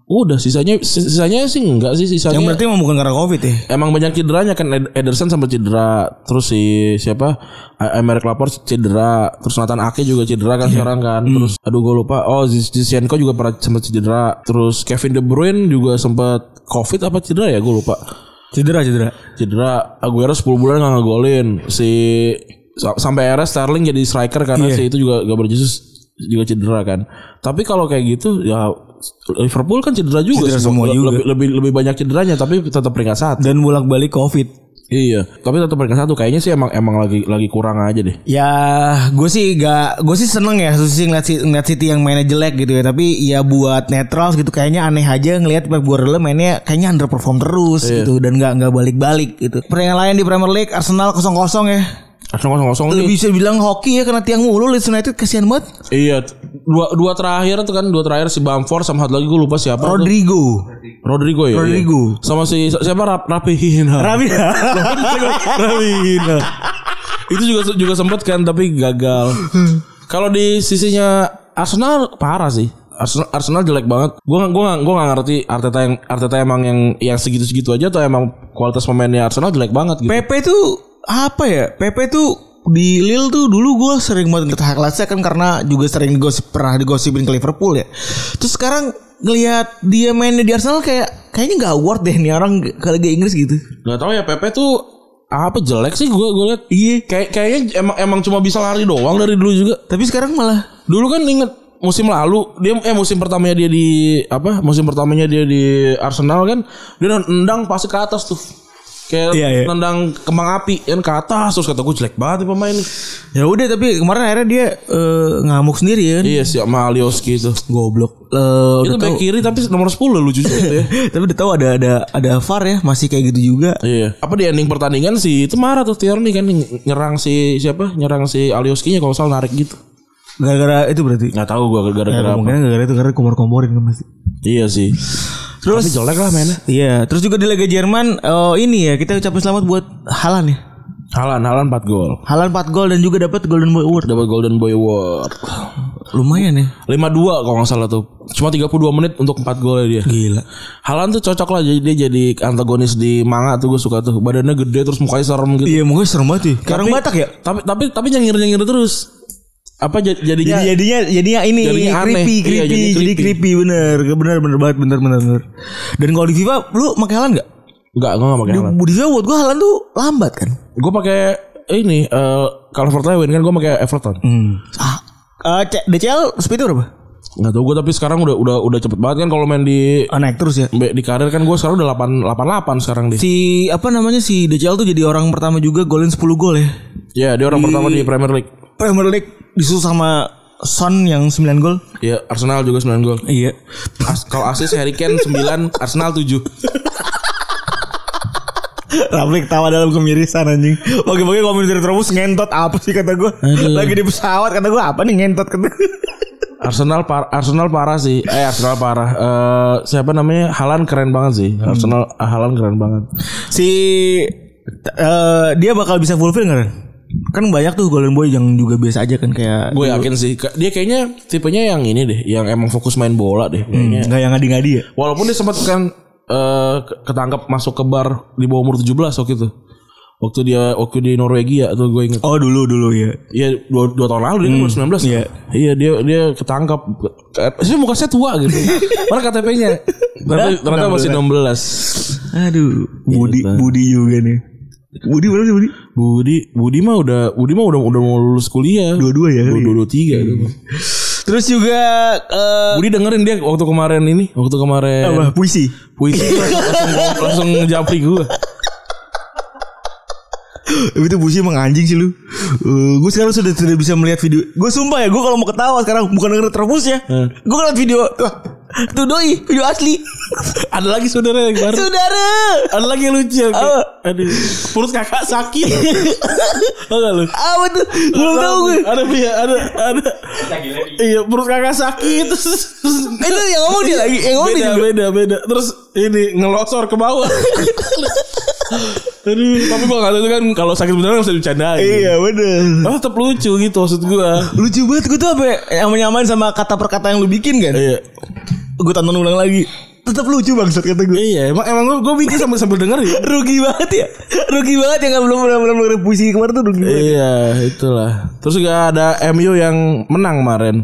Speaker 3: Udah sisanya sisanya sih enggak sih sisanya.
Speaker 2: Yang berarti memang bukan karena COVID ya?
Speaker 3: Emang banyak cederanya kan Ed- Ederson sampai cedera, terus si siapa? Emerick Laporte cedera, terus Nathan Ake juga cedera kan sekarang kan. Terus aduh gue lupa. Oh, Ziz- Zizienko juga pernah sempat cedera. Terus Kevin De Bruyne juga sempat Covid apa cedera ya gue lupa.
Speaker 2: Cedera cedera.
Speaker 3: Cedera Aguero 10 bulan gak ngegolin. Si sa- sampai era Sterling jadi striker karena
Speaker 2: Iya.
Speaker 3: si itu juga Gabriel Jesus juga cedera kan. Tapi kalau kayak gitu ya Liverpool kan cedera juga,
Speaker 2: Cedera
Speaker 3: sih.
Speaker 2: semua juga.
Speaker 3: Lebih, lebih lebih banyak cederanya tapi tetap peringkat satu.
Speaker 2: Dan bolak balik COVID.
Speaker 3: Iya, tapi tetap peringkat satu kayaknya sih emang emang lagi lagi kurang aja deh.
Speaker 2: Ya, gue sih gak, gue sih seneng ya sih ngeliat, si- ngeliat City yang mainnya jelek gitu ya. Tapi ya buat netral gitu kayaknya aneh aja ngeliat Pep Guardiola mainnya kayaknya underperform terus gitu dan nggak nggak balik-balik gitu. Pertandingan lain di Premier League Arsenal 0-0 ya.
Speaker 3: Arsenal kosong kosong nih.
Speaker 2: Lebih bisa bilang hoki ya karena tiang mulu Leeds United kasihan banget.
Speaker 3: Iya, dua dua terakhir tuh kan dua terakhir si Bamford sama satu lagi gue lupa siapa. tuh.
Speaker 2: Rodrigo.
Speaker 3: Rodrigo ya.
Speaker 2: Rodrigo.
Speaker 3: iya. Sama si siapa Rap, Rapihina.
Speaker 2: Rabi.
Speaker 3: Rapihina. Itu juga juga sempet kan tapi gagal. Kalau di sisinya Arsenal parah sih. Arsenal, Arsenal jelek banget. Gua gua gua gak ngerti Arteta yang Arteta emang yang yang segitu-segitu aja atau emang kualitas pemainnya Arsenal jelek banget gitu.
Speaker 2: PP tuh apa ya? PP tuh di Lille tuh dulu gue sering banget ngeliat highlightsnya kan karena juga sering digosip pernah digosipin ke Liverpool ya. Terus sekarang ngelihat dia mainnya di Arsenal kayak kayaknya nggak award deh nih orang ke Liga Inggris gitu.
Speaker 3: Gak tau ya Pepe tuh apa jelek sih gue gue liat iya kayak kayaknya emang emang cuma bisa lari doang dari dulu juga
Speaker 2: Tapi sekarang malah
Speaker 3: dulu kan inget musim lalu dia eh musim pertamanya dia di apa musim pertamanya dia di Arsenal kan dia nendang pasti ke atas tuh kayak
Speaker 2: Iya, iya.
Speaker 3: nendang kembang api kan ke atas terus kata gue jelek banget nih pemain nih
Speaker 2: Ya udah tapi kemarin akhirnya dia eh, ngamuk sendiri kan.
Speaker 3: iya sih sama Alioski itu
Speaker 2: Goblok. Eh, udah
Speaker 3: itu back
Speaker 2: tahu-
Speaker 3: kiri tapi nomor 10 lucu juga itu ya
Speaker 2: tapi udah tahu ada ada ada VAR ya masih kayak gitu juga.
Speaker 3: Iya. Apa di ending pertandingan si itu marah tuh Tierney kan ny- nyerang si siapa? Nyerang si Alioskinya kalau salah narik gitu.
Speaker 2: Gara-gara itu berarti.
Speaker 3: Nggak tahu gua gara-gara apa.
Speaker 2: Kemungkinan gara-gara itu karena kompor-komporin kan pasti.
Speaker 3: Iya sih.
Speaker 2: Terus
Speaker 3: Tapi jelek lah mainnya.
Speaker 2: Iya, terus juga di Liga Jerman eh, ini ya kita ucapin selamat buat Halan ya.
Speaker 3: Halan Halan 4 gol.
Speaker 2: Halan 4 gol dan juga dapat Golden Boy Award.
Speaker 3: Dapat Golden Boy Award.
Speaker 2: Lumayan ya.
Speaker 3: 5-2 kalau nggak salah tuh. Cuma 32 menit untuk 4 gol ya dia.
Speaker 2: Gila.
Speaker 3: Halan tuh cocok lah jadi dia jadi antagonis di manga tuh gue suka tuh. Badannya gede terus mukanya serem gitu.
Speaker 2: Iya, mukanya serem banget ya. Karang
Speaker 3: Tapi-
Speaker 2: Batak ya?
Speaker 3: Tapi tapi tapi nyengir-nyengir terus. Apa jad- jadinya
Speaker 2: Jadi jadinya jadinya ini
Speaker 3: iya, Jadinya aneh.
Speaker 2: creepy,
Speaker 3: Iya,
Speaker 2: creepy,
Speaker 3: jadi
Speaker 2: jadi
Speaker 3: creepy.
Speaker 2: creepy bener, bener bener banget bener bener bener. Dan kalau di FIFA lu pakai Halan nggak?
Speaker 3: enggak gua enggak pakai Halan.
Speaker 2: Di FIFA buat gua Halan tuh lambat kan.
Speaker 3: Gue pakai ini eh Calvert Lewin kan gue pakai Everton.
Speaker 2: Ah, eh, C- DCL speed berapa?
Speaker 3: Nggak tahu gue tapi sekarang udah udah udah cepet banget kan kalau main di
Speaker 2: Ah, naik terus ya.
Speaker 3: di karir kan gue sekarang udah 8 88 sekarang deh.
Speaker 2: Si apa namanya si DCL tuh jadi orang pertama juga golin 10 gol ya.
Speaker 3: Ya dia orang pertama di Premier League.
Speaker 2: Premier League disusul sama Son yang 9 gol.
Speaker 3: Ya Arsenal juga 9 gol.
Speaker 2: Iya.
Speaker 3: As- kalau asis Harry Kane 9, Arsenal 7.
Speaker 2: Rafli ketawa dalam kemirisan anjing. Pagi-pagi komen dari terus ngentot apa sih kata gue. Lagi di pesawat kata gue apa nih ngentot kata gue.
Speaker 3: Arsenal par- Arsenal parah sih. Eh Arsenal parah. Eh siapa namanya? Halan keren banget sih.
Speaker 2: Hmm.
Speaker 3: Arsenal Halan keren banget.
Speaker 2: Si eh, dia bakal bisa fulfill nggak Ren? Kan banyak tuh Golden Boy yang juga biasa aja kan kayak
Speaker 3: Gue yakin sih Ke- dia kayaknya tipenya yang ini deh, yang emang fokus main bola
Speaker 2: Hmm.
Speaker 3: deh kayaknya.
Speaker 2: nggak yang ngadi-ngadi ya.
Speaker 3: Walaupun dia sempat kan eh, ke- ketangkap masuk ke bar di bawah umur 17 waktu itu. Waktu dia waktu di Norwegia tuh gue inget.
Speaker 2: Oh dulu dulu ya.
Speaker 3: Iya dua, dua tahun lalu dia kan baru 19
Speaker 2: iya.
Speaker 3: Iya dia dia ketangkap Sih muka saya tua gitu Mana KTP-nya Ternyata, ternyata masih 16
Speaker 2: Aduh, Iya, Budi Budi juga nih. Budi berapa sih Budi?
Speaker 3: Budi Budi mah udah Budi mah udah udah mau lulus kuliah
Speaker 2: Dua-dua ya.
Speaker 3: Dua- dua- dua tiga gitu.
Speaker 2: Terus juga eh
Speaker 3: Budi dengerin dia waktu kemarin ini Waktu kemarin
Speaker 2: apa, puisi.
Speaker 3: Puisi langsung, langsung japri gue
Speaker 2: Tapi itu puisi emang anjing sih lu. Eh, gue sekarang sudah tidak bisa melihat video. Gue sumpah ya, gue kalau mau ketawa sekarang bukan denger terus ya.
Speaker 3: Eh.
Speaker 2: Gue ngeliat video wah, tuh doi video asli.
Speaker 3: Ada lagi saudara yang baru
Speaker 2: Saudara.
Speaker 3: Ada lagi yang lucu kayak,
Speaker 2: Apa?
Speaker 3: Aduh Perut kakak sakit Tau gak lu
Speaker 2: Apa tuh? Belum tahu gue.
Speaker 3: Ada punya Ada Ada Iya perut kakak sakit Terus terus-
Speaker 2: Itu Eh, yang ngomong dia lagi, yang ngomong dia
Speaker 3: Beda
Speaker 2: Oh, juga.
Speaker 3: beda beda Terus ini Ngelosor ke bawah Aduh Tapi gua gak tau itu kan Kalau sakit beneran gak bisa dicandain
Speaker 2: Iya bener.
Speaker 3: Tapi tetep lucu gitu Maksud gua
Speaker 2: Lucu banget gue tuh apa ya, yang nyaman sama kata per kata yang lu bikin kan?
Speaker 3: Iya
Speaker 2: Gue tonton ulang lagi. Tetap lucu bangsat kata gue.
Speaker 3: Iya emang, emang gua, gua bikin sambil sambil denger ya
Speaker 2: Rugi banget ya. Rugi banget ya kalau belum belum belum denger puisi kemarin tuh rugi banget.
Speaker 3: Iya itulah Terus juga ada MU yang menang kemarin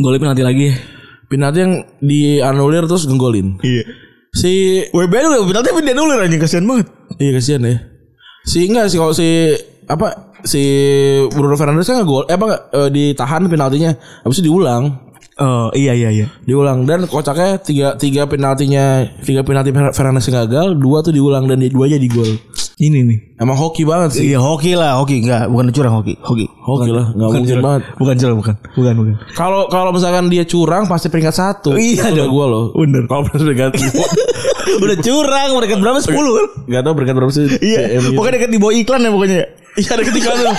Speaker 2: Golnya penalti lagi.
Speaker 3: Penalti yang dianulir terus ngegolin
Speaker 2: Iya.
Speaker 3: Si
Speaker 2: WBL udah penalti tapi dia nulir anjing kasihan banget.
Speaker 3: Iya kasihan ya. Si enggak sih kalau si apa si Bruno Fernandes kan gol eh apa nggak, eh, ditahan penaltinya habis itu diulang
Speaker 2: Oh iya iya iya.
Speaker 3: diulang dan kocaknya tiga tiga penaltinya tiga penalti Fer- Fernandes yang gagal dua tuh diulang dan dua aja di gol
Speaker 2: Ini nih.
Speaker 3: emang hoki banget sih
Speaker 2: Iya hoki lah hoki enggak bukan curang hoki hoki.
Speaker 3: hoki lah nggak
Speaker 2: Bukan
Speaker 3: mungkin
Speaker 2: curang.
Speaker 3: banget
Speaker 2: Bukan curang bukan bukan bukan.
Speaker 3: kalau kalau misalkan dia curang pasti peringkat satu
Speaker 2: Iya
Speaker 3: Itu udah
Speaker 2: dong.
Speaker 3: gue loh
Speaker 2: Bener.
Speaker 3: kalau peringkat dua
Speaker 2: Udah curang mereka berapa 10 kan?
Speaker 3: nggak tahu peringkat berapa sih
Speaker 2: Iya.
Speaker 3: CM gitu.
Speaker 2: Pokoknya dekat di bawah iklan ya pokoknya. ya.
Speaker 3: Iya deket iklan lu.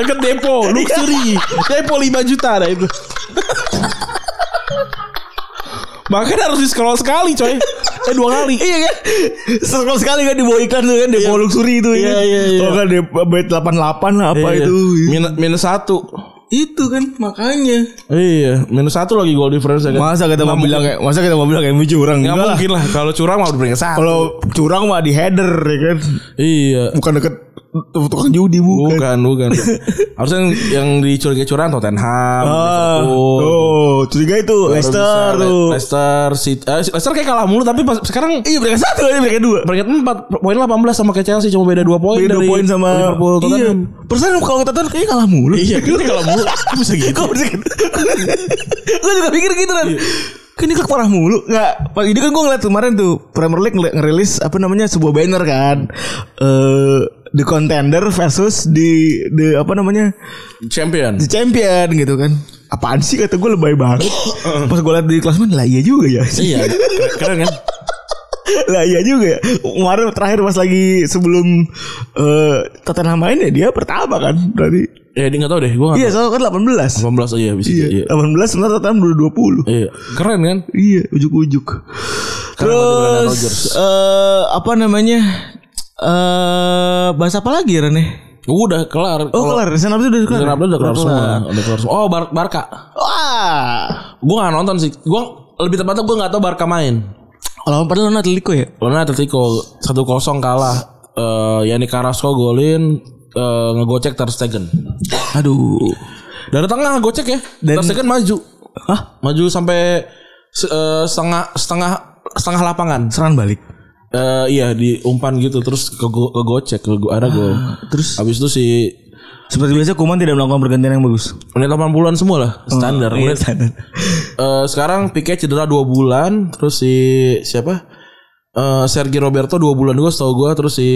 Speaker 3: Deket depo Luxury Depo 5 juta ada itu Makanya harus di scroll sekali coy Eh dua kali
Speaker 2: Iya kan? Sekali sekali kan di bawah iklan tuh kan di bawah luxury itu
Speaker 3: Iya,
Speaker 2: ya.
Speaker 3: iya, iya.
Speaker 2: Kalau kan di bed 88 lah apa
Speaker 3: Iya.
Speaker 2: itu.
Speaker 3: Min- Minus satu
Speaker 2: Itu kan makanya.
Speaker 3: Iya Minus satu lagi goal difference ya kan?
Speaker 2: Masa kita mau bilang kayak masa kita mau bilang kayak curang
Speaker 3: Nggak
Speaker 2: enggak lah.
Speaker 3: mungkin lah Kalau curang mau peringkat satu
Speaker 2: Kalau curang mah di header ya kan.
Speaker 3: Iya
Speaker 2: Bukan deket tukang judi bukan.
Speaker 3: Bukan, bukan. Harusnya yang, yang dicurigai curang Tottenham,
Speaker 2: Ah,
Speaker 3: Liverpool.
Speaker 2: tuh, curiga itu Leicester
Speaker 3: Bisa, Le-
Speaker 2: tuh.
Speaker 3: Leicester City. Eh, Leicester kayak kalah mulu tapi pas, sekarang
Speaker 2: Iya mereka satu, iya mereka dua.
Speaker 3: peringkat 4 poin 18 sama kayak Chelsea cuma beda 2 poin
Speaker 2: Beda
Speaker 3: dari
Speaker 2: poin sama
Speaker 3: Liverpool
Speaker 2: Iya.
Speaker 3: Tottenham.
Speaker 2: Persen kalau Tottenham kayaknya kalah mulu.
Speaker 3: Iya, kita kalah mulu. Kok Bisa gitu. Iya.
Speaker 2: Kok bisa gitu? gue juga pikir gitu kan. Kan ini klub parah mulu Nggak Pas ini kan gue ngeliat kemarin tuh Premier League ngeliat- ngerilis Apa namanya Sebuah banner kan eh The Contender versus di the, apa namanya
Speaker 3: Champion.
Speaker 2: The Champion gitu kan Apaan sih kata gue lebay banget Pas gue liat di klasmen Lah iya juga ya
Speaker 3: Iya, keren kan?
Speaker 2: lah iya juga ya kemarin terakhir pas lagi sebelum eh Tottenham main ya dia pertama kan berarti
Speaker 3: Ya, dia enggak tahu deh, gua nggak
Speaker 2: iya soalnya kan 18
Speaker 3: tahu. 18 aja bisa.
Speaker 2: iya,
Speaker 3: Iya.
Speaker 2: 18 sementara Tottenham udah 20
Speaker 3: Iya, keren kan?
Speaker 2: iya ujuk-ujuk
Speaker 3: Brandon
Speaker 2: terus
Speaker 3: Rodgers.
Speaker 2: eh apa namanya eh bahas apa lagi Rene
Speaker 3: Udah kelar.
Speaker 2: oh kelar Season Update udah kelar
Speaker 3: Kalau- Ronaldo udah kelar semua, udah kelar semua. Oh, Bar Barca.
Speaker 2: wah
Speaker 3: Gua nggak nonton sih. Gua lebih tepatnya gua nggak tahu Barca main.
Speaker 2: kalau padahal lawan Atletico ya
Speaker 3: Karena Atletico 1-0 kalah. Eh, Yani Carrasco golin eh, ngegocek Ter Stegen.
Speaker 2: aduh
Speaker 3: Dari tengah ngegocek ya.
Speaker 2: Dan-
Speaker 3: Ter Stegen maju.
Speaker 2: Hah?
Speaker 3: Maju sampai se- eh, setengah setengah setengah lapangan.
Speaker 2: serangan balik
Speaker 3: Eh iya diumpan gitu terus ke kegocek ke ada gol.
Speaker 2: terus
Speaker 3: Habis itu si
Speaker 2: seperti biasa Kuman tidak melakukan pergantian yang bagus
Speaker 3: menit 80-an semua lah standar.
Speaker 2: Iya,
Speaker 3: Menit
Speaker 2: standar.
Speaker 3: Eh, sekarang Pique cedera 2 bulan, terus si siapa? Eh Sergi Roberto 2 bulan juga setahu gua, terus si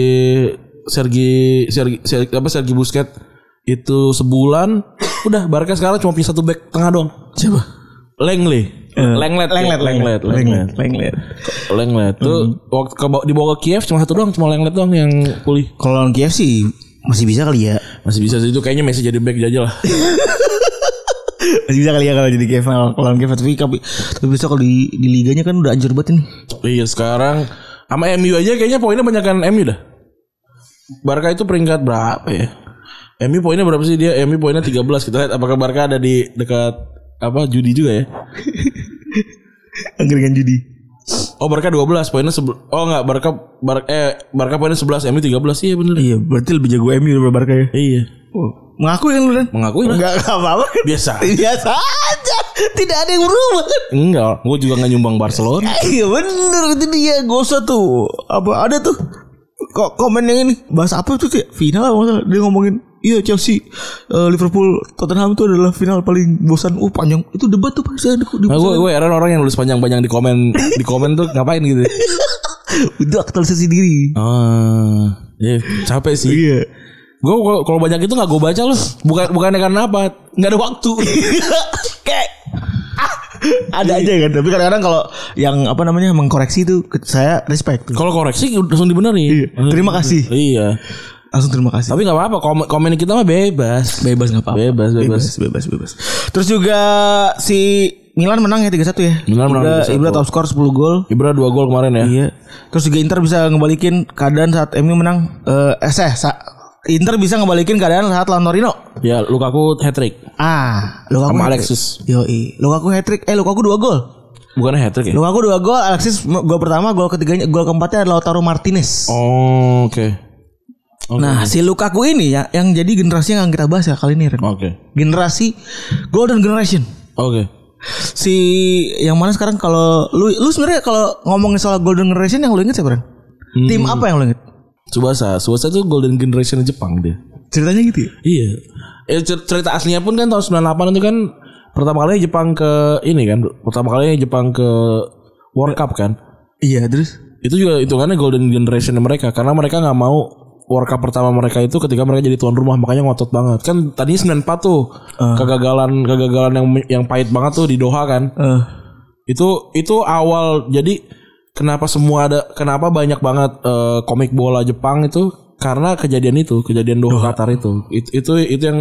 Speaker 3: Sergi Sergi, Sergi apa Sergi Busquets itu sebulan. Udah Barca sekarang cuma punya satu back tengah doang.
Speaker 2: siapa
Speaker 3: Lenglet.
Speaker 2: Lenglet,
Speaker 3: Lenglet. Eh, Lenglet. Hmm. Lenglet.
Speaker 2: lenglet, lenglet.
Speaker 3: Lenglet. Tuh waktu ke dibawa ke Kiev cuma satu doang, cuma Lenglet doang yang pulih.
Speaker 2: Kalau lawan Kiev sih masih bisa kali ya.
Speaker 3: Masih bisa sih itu kayaknya Messi jadi back aja lah.
Speaker 2: Masih bisa kali ya kalau jadi Kiev kalau lawan Kiev tapi tapi, tapi besok kalau di, di liganya kan udah anjir banget ini.
Speaker 3: Iya sekarang sama MU aja kayaknya poinnya banyakkan MU dah. Barca itu peringkat berapa ya? MU poinnya berapa sih dia? MU poinnya 13 kita lihat apakah Barca ada di dekat apa judi juga ya?
Speaker 2: Angkringan judi.
Speaker 3: Oh Barca 12 poinnya sebel- Oh enggak Barca Bar- eh Barca poinnya 11 MU 13 iya bener.
Speaker 2: Iya, berarti lebih jago MU daripada Barca ya.
Speaker 3: Iya.
Speaker 2: Mengakui kan lu dan?
Speaker 3: Mengakui lah.
Speaker 2: Enggak apa-apa. kan?
Speaker 3: Biasa.
Speaker 2: Biasa aja. Tidak ada yang berubah kan.
Speaker 3: Enggak, gue juga nggak nyumbang Barcelona.
Speaker 2: Iya bener itu dia gak usah tuh apa ada tuh kok komen yang ini bahasa apa tuh kayak final apa masalah dia ngomongin iya Chelsea eh, Liverpool Tottenham itu adalah final paling bosan uh panjang itu debat tuh pasti ada kok di-
Speaker 3: Nah, gue gue heran orang yang nulis panjang-panjang di komen di komen tuh ngapain gitu.
Speaker 2: udah aktualisasi diri
Speaker 3: Ah, iya, capek sih.
Speaker 2: iya
Speaker 3: Gue kalau- kalau banyak itu nggak gue baca loh. Bukan bukannya karena apa? Nggak ada waktu.
Speaker 2: kayak ah, ada aja kan tapi kadang-kadang kalau yang apa namanya mengkoreksi itu ke- saya respect tuh.
Speaker 3: kalau koreksi langsung dibenerin.
Speaker 2: Iya. Terima kasih.
Speaker 3: Iya.
Speaker 2: langsung terima kasih
Speaker 3: Tapi nggak apa-apa. Komen, komen kita mah bebas.
Speaker 2: bebas nggak apa-apa
Speaker 3: Bebas, bebas.
Speaker 2: bebas, bebas. Terus juga si Milan menang ya 3-1 ya.
Speaker 3: Milan menang
Speaker 2: Ibra,
Speaker 3: 3-1.
Speaker 2: Ibra top skor 10 gol.
Speaker 3: Ibra dua gol kemarin ya.
Speaker 2: Iya. Terus juga Inter bisa ngebalikin keadaan saat MU menang eh eh seh, sa- Inter bisa ngebalikin keadaan saat lawan Torino.
Speaker 3: Ya Lukaku hat trick.
Speaker 2: Ah, Lukaku
Speaker 3: Sama
Speaker 2: hat-trick.
Speaker 3: Alexis.
Speaker 2: Yoi. Lukaku hat trick. Eh Lukaku 2 gol.
Speaker 3: Bukannya hat trick ya?
Speaker 2: Lukaku 2 gol, Alexis gol pertama, gol ketiganya, gol keempatnya adalah Lautaro Martinez.
Speaker 3: Oh, oke. Oke.
Speaker 2: Nah, si Lukaku ini ya yang jadi generasi yang akan kita bahas ya kali ini. Ren.
Speaker 3: Oke.
Speaker 2: Generasi Golden Generation.
Speaker 3: Oke.
Speaker 2: si yang mana sekarang kalau lu lu sebenarnya kalau ngomongin soal golden generation yang lu inget siapa Ren? Tim apa yang lu inget?
Speaker 3: Subasa, Subasa itu golden generation Jepang dia.
Speaker 2: Ceritanya gitu ya?
Speaker 3: Iya. Eh, cer- cerita aslinya pun kan tahun 98 itu kan pertama kali Jepang ke ini kan, pertama kali Jepang ke World Cup kan.
Speaker 2: Iya terus
Speaker 3: itu juga hitungannya golden generation mereka karena mereka nggak mau World Cup pertama mereka itu ketika mereka jadi tuan rumah makanya ngotot banget kan tadinya 94 tuh
Speaker 2: Eh.
Speaker 3: kegagalan kegagalan yang yang pahit banget tuh di Doha kan
Speaker 2: Eh,
Speaker 3: itu itu awal jadi kenapa semua ada kenapa banyak banget eh, komik bola Jepang itu karena kejadian itu kejadian Doha Qatar itu. itu itu itu yang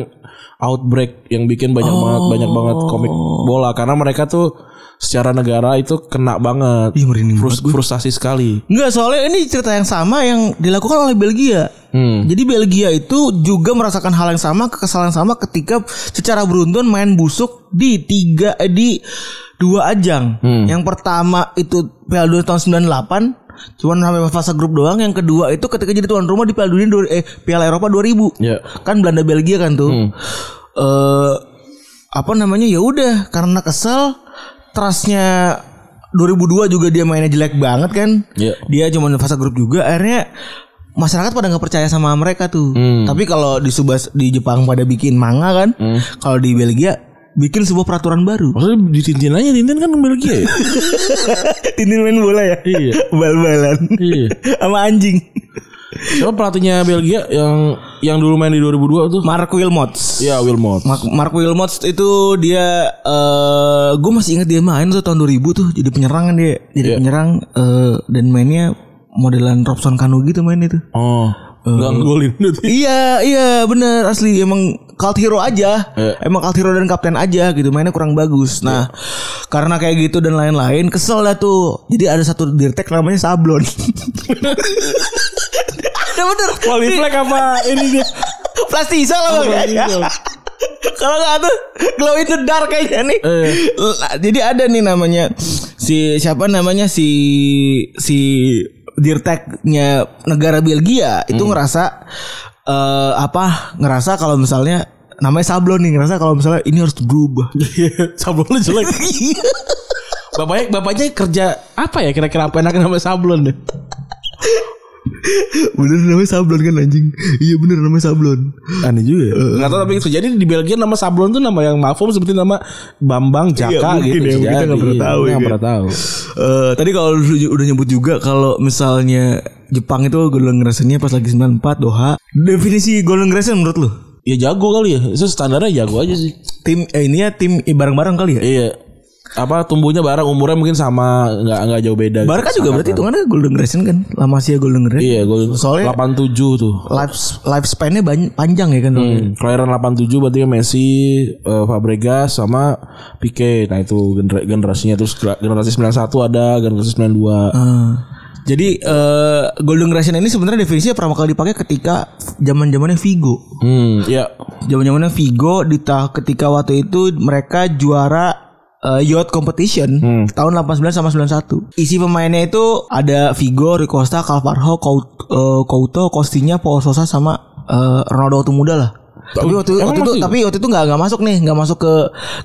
Speaker 3: outbreak yang bikin banyak banget banyak banget komik
Speaker 2: Oh.
Speaker 3: bola karena mereka tuh secara negara itu kena banget
Speaker 2: Ih, iya, merinding
Speaker 3: Frus- frustasi sekali
Speaker 2: Enggak soalnya ini cerita yang sama yang dilakukan oleh Belgia.
Speaker 3: Hmm.
Speaker 2: Jadi Belgia itu juga merasakan hal yang sama, kekesalan yang sama ketika secara beruntun main busuk di tiga eh, di dua ajang. Yang pertama itu Piala Dunia tahun 98 Cuman sampai fase grup doang. Yang kedua itu ketika jadi tuan rumah di Piala Dunia dua- eh Piala Eropa 2000.
Speaker 3: Iya.
Speaker 2: Kan Belanda Belgia kan tuh.
Speaker 3: Hmm.
Speaker 2: Eh apa namanya? Ya udah karena kesel trustnya 2002 juga dia mainnya jelek banget kan.
Speaker 3: Iya.
Speaker 2: Dia cuma fase grup juga akhirnya masyarakat pada nggak percaya sama mereka tuh.
Speaker 3: Hmm.
Speaker 2: Tapi kalau di Subas di Jepang pada bikin manga kan. Kalau di Belgia bikin sebuah peraturan baru.
Speaker 3: Maksudnya di Tintin aja Tintin kan Belgia ya?
Speaker 2: Tintin main bola ya?
Speaker 3: Iya.
Speaker 2: Bal-balan.
Speaker 3: Iya.
Speaker 2: Sama anjing.
Speaker 3: Siapa pelatihnya Belgia yang yang dulu main di 2002 tuh?
Speaker 2: Mark Wilmots.
Speaker 3: Iya Wilmot.
Speaker 2: Mark, Mark Wilmots itu dia eh gue masih ingat dia main tuh tahun 2000 tuh jadi penyerang kan dia. Jadi
Speaker 3: Iya.
Speaker 2: penyerang eh, dan mainnya modelan Robson Cano gitu main itu.
Speaker 3: Oh. Enggak
Speaker 2: Eh.
Speaker 3: ngegolin.
Speaker 2: iya, iya bener asli emang cult hero aja.
Speaker 3: Iya.
Speaker 2: Emang cult hero dan kapten aja gitu mainnya kurang bagus. Nah, karena kayak gitu dan lain-lain kesel dah tuh. Jadi ada satu dirtek namanya Sablon. ada bener.
Speaker 3: Qualiflag apa ini dia?
Speaker 2: Plastisol lah
Speaker 3: Oh,
Speaker 2: kayaknya.
Speaker 3: plastisol.
Speaker 2: Kalau nggak tuh glow in the dark kayaknya nih.
Speaker 3: Eh.
Speaker 2: Lah, Jadi ada nih namanya si siapa namanya si si dirteknya negara Belgia itu
Speaker 3: Hmm.
Speaker 2: ngerasa eh, apa ngerasa kalau misalnya namanya sablon nih ngerasa kalau misalnya ini harus berubah.
Speaker 3: Iya, Sablonnya jelek. Bapaknya bapaknya kerja apa ya kira-kira apa enaknya nama sablon deh.
Speaker 2: bener namanya sablon kan anjing. Iya bener namanya sablon.
Speaker 3: Aneh juga. Enggak Eh, tahu tapi itu jadi di Belgia nama sablon tuh nama yang mafum seperti nama Bambang
Speaker 2: Iya,
Speaker 3: Jaka
Speaker 2: mungkin
Speaker 3: gitu.
Speaker 2: ya, kita nggak pernah tahu ya,
Speaker 3: Enggak
Speaker 2: kan?
Speaker 3: pernah tahu.
Speaker 2: Eh tadi kalau lu ju- udah nyebut juga kalau misalnya Jepang itu golden grassnya pas lagi 94 Doha. Definisi golden grass menurut lu?
Speaker 3: Ya jago kali ya. Itu standarnya jago aja sih.
Speaker 2: Tim eh, ini ya tim i- bareng-bareng kali ya.
Speaker 3: Iya. Apa tumbuhnya bareng umurnya mungkin sama nggak nggak jauh beda. gitu.
Speaker 2: Barca juga berarti hitungannya golden grass kan? Lama sih ya golden grass.
Speaker 3: Iya, gol
Speaker 2: Soalnya-
Speaker 3: 87 tuh.
Speaker 2: Life lifespan-nya ban- panjang ya kan.
Speaker 3: Hmm. Kelahiran 87 berarti kan Messi, eh, Fabregas sama Pique. Nah, itu gener- generasinya terus gra- generasi 91 ada, generasi 92.
Speaker 2: Eh, jadi eh golden grass ini sebenarnya definisinya pertama kali dipakai ketika zaman-zamannya Vigo.
Speaker 3: Hmm, ya.
Speaker 2: Zaman-zamannya Vigo di ta- ketika waktu itu mereka juara eh, yacht competition
Speaker 3: Hmm.
Speaker 2: tahun 89 sama 91. Isi pemainnya itu ada Vigo, Ricosta, Calvarho, Couto, eh, Couto Costinha, Paul Sosa sama eh, Ronaldo waktu muda lah. Tapi waktu,
Speaker 3: emang
Speaker 2: waktu itu
Speaker 3: masih?
Speaker 2: tapi waktu itu nggak nggak masuk nih, nggak masuk ke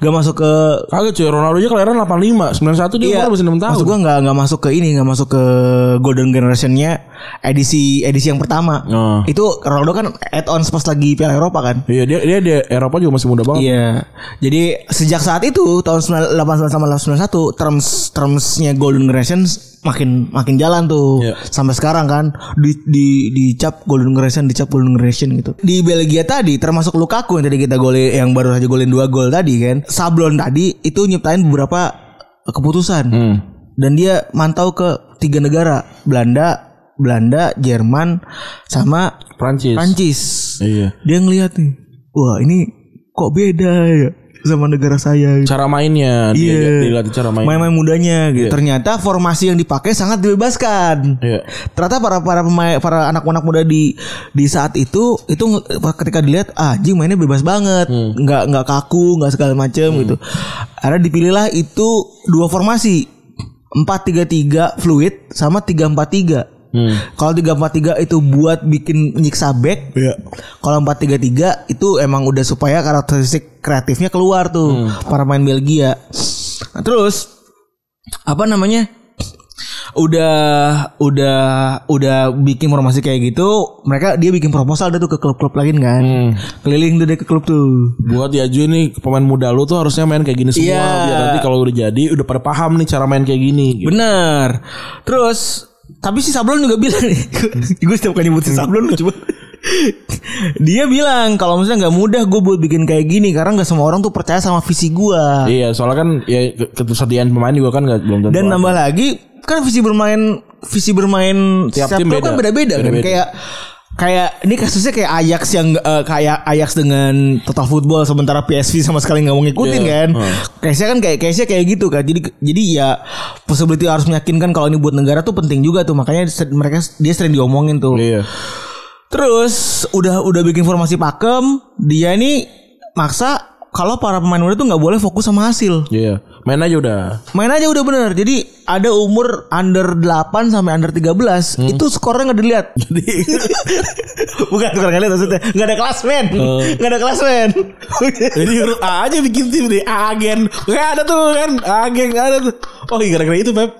Speaker 2: nggak masuk ke
Speaker 3: Kagak cuy, Ronaldo aja kelahiran 85, 91 dia umurnya masih 6 tahun.
Speaker 2: Iya. Maksud gua nggak nggak masuk ke ini, nggak masuk ke Golden Generationnya edisi edisi yang pertama.
Speaker 3: Oh.
Speaker 2: Itu Ronaldo kan add on pas lagi Piala Eropa kan.
Speaker 3: Iya, dia dia di Eropa juga masih muda banget.
Speaker 2: Iya. Jadi sejak saat itu tahun 89 sama 91 terms termsnya Golden Generation makin makin jalan tuh
Speaker 3: Iya.
Speaker 2: sampai sekarang kan di di dicap Golden Generation dicap Golden Generation gitu. Di Belgia tadi termasuk Lukaku yang tadi kita golin yang baru saja golin dua gol tadi kan. Sablon tadi itu nyiptain beberapa keputusan.
Speaker 3: Hmm.
Speaker 2: Dan dia mantau ke tiga negara, Belanda, Belanda, Jerman sama
Speaker 3: Prancis.
Speaker 2: Prancis
Speaker 3: Iya.
Speaker 2: dia ngelihat nih wah ini kok beda ya sama negara saya gitu.
Speaker 3: Cara mainnya dia,
Speaker 2: Iya.
Speaker 3: dia dilatih cara main.
Speaker 2: main-main mudanya gitu ternyata formasi yang dipakai sangat dibebaskan
Speaker 3: Iya.
Speaker 2: ternyata para para pemain para anak-anak muda di di saat itu itu nge- ketika dilihat ah anjing mainnya bebas banget
Speaker 3: Hmm.
Speaker 2: nggak nggak kaku nggak segala macem gitu ada dipilihlah itu dua formasi 4-3-3 fluid sama 3-4-3
Speaker 3: Hmm.
Speaker 2: kalau 3-4-3 itu buat bikin nyiksa back
Speaker 3: Iya.
Speaker 2: kalau 4-3-3 itu emang udah supaya karakteristik kreatifnya keluar tuh para pemain Belgia. Nah, terus apa namanya? Udah udah udah bikin formasi kayak gitu, mereka dia bikin proposal dia tuh ke klub-klub lain kan. Keliling tuh dia ke klub tuh.
Speaker 3: Buat ya Ju nih pemain muda lu tuh harusnya main kayak gini semua
Speaker 2: Iya.
Speaker 3: biar nanti kalau udah jadi udah pada paham nih cara main kayak gini. gitu.
Speaker 2: Bener. Terus tapi si Sablon juga bilang nih, gue setiap kali nyebut si Sablon lu coba. Dia bilang kalau misalnya nggak mudah gue buat bikin kayak gini karena nggak semua orang tuh percaya sama visi gue.
Speaker 3: Iya, soalnya kan ya ke- ketersediaan pemain juga kan nggak belum tentu.
Speaker 2: Dan
Speaker 3: ada.
Speaker 2: nambah lagi kan visi bermain visi bermain
Speaker 3: Tiap tim
Speaker 2: klub kan
Speaker 3: beda.
Speaker 2: beda-beda kan
Speaker 3: Beda-beda.
Speaker 2: kayak kayak ini kasusnya kayak Ajax yang eh, kayak Ajax dengan Total Football sementara PSV sama sekali nggak mau ngikutin
Speaker 3: Iya,
Speaker 2: kan. Case-nya kan kayak case-nya kayak gitu kan. Jadi jadi ya possibility harus meyakinkan kalau ini buat negara tuh penting juga tuh makanya se- mereka dia sering diomongin tuh.
Speaker 3: Iya.
Speaker 2: Terus udah udah bikin formasi pakem, dia nih maksa kalau para pemain muda tuh nggak boleh fokus sama hasil.
Speaker 3: Iya. Main aja udah.
Speaker 2: Main aja udah bener. Jadi ada umur under 8 sampai under 13 itu skornya nggak dilihat. Jadi bukan skor nggak dilihat maksudnya nggak ada kelas men, nggak ada kelas men.
Speaker 3: Jadi huruf A aja bikin tim deh. A agen. Nggak ada tuh kan. A agen nggak ada tuh. Oh iya gara-gara itu Beb.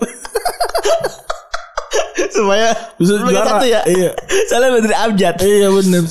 Speaker 2: Supaya
Speaker 3: Bisa
Speaker 2: lu pakai
Speaker 3: juara.
Speaker 2: satu ya.
Speaker 3: Iya.
Speaker 2: Soalnya bener abjad.
Speaker 3: iya bener.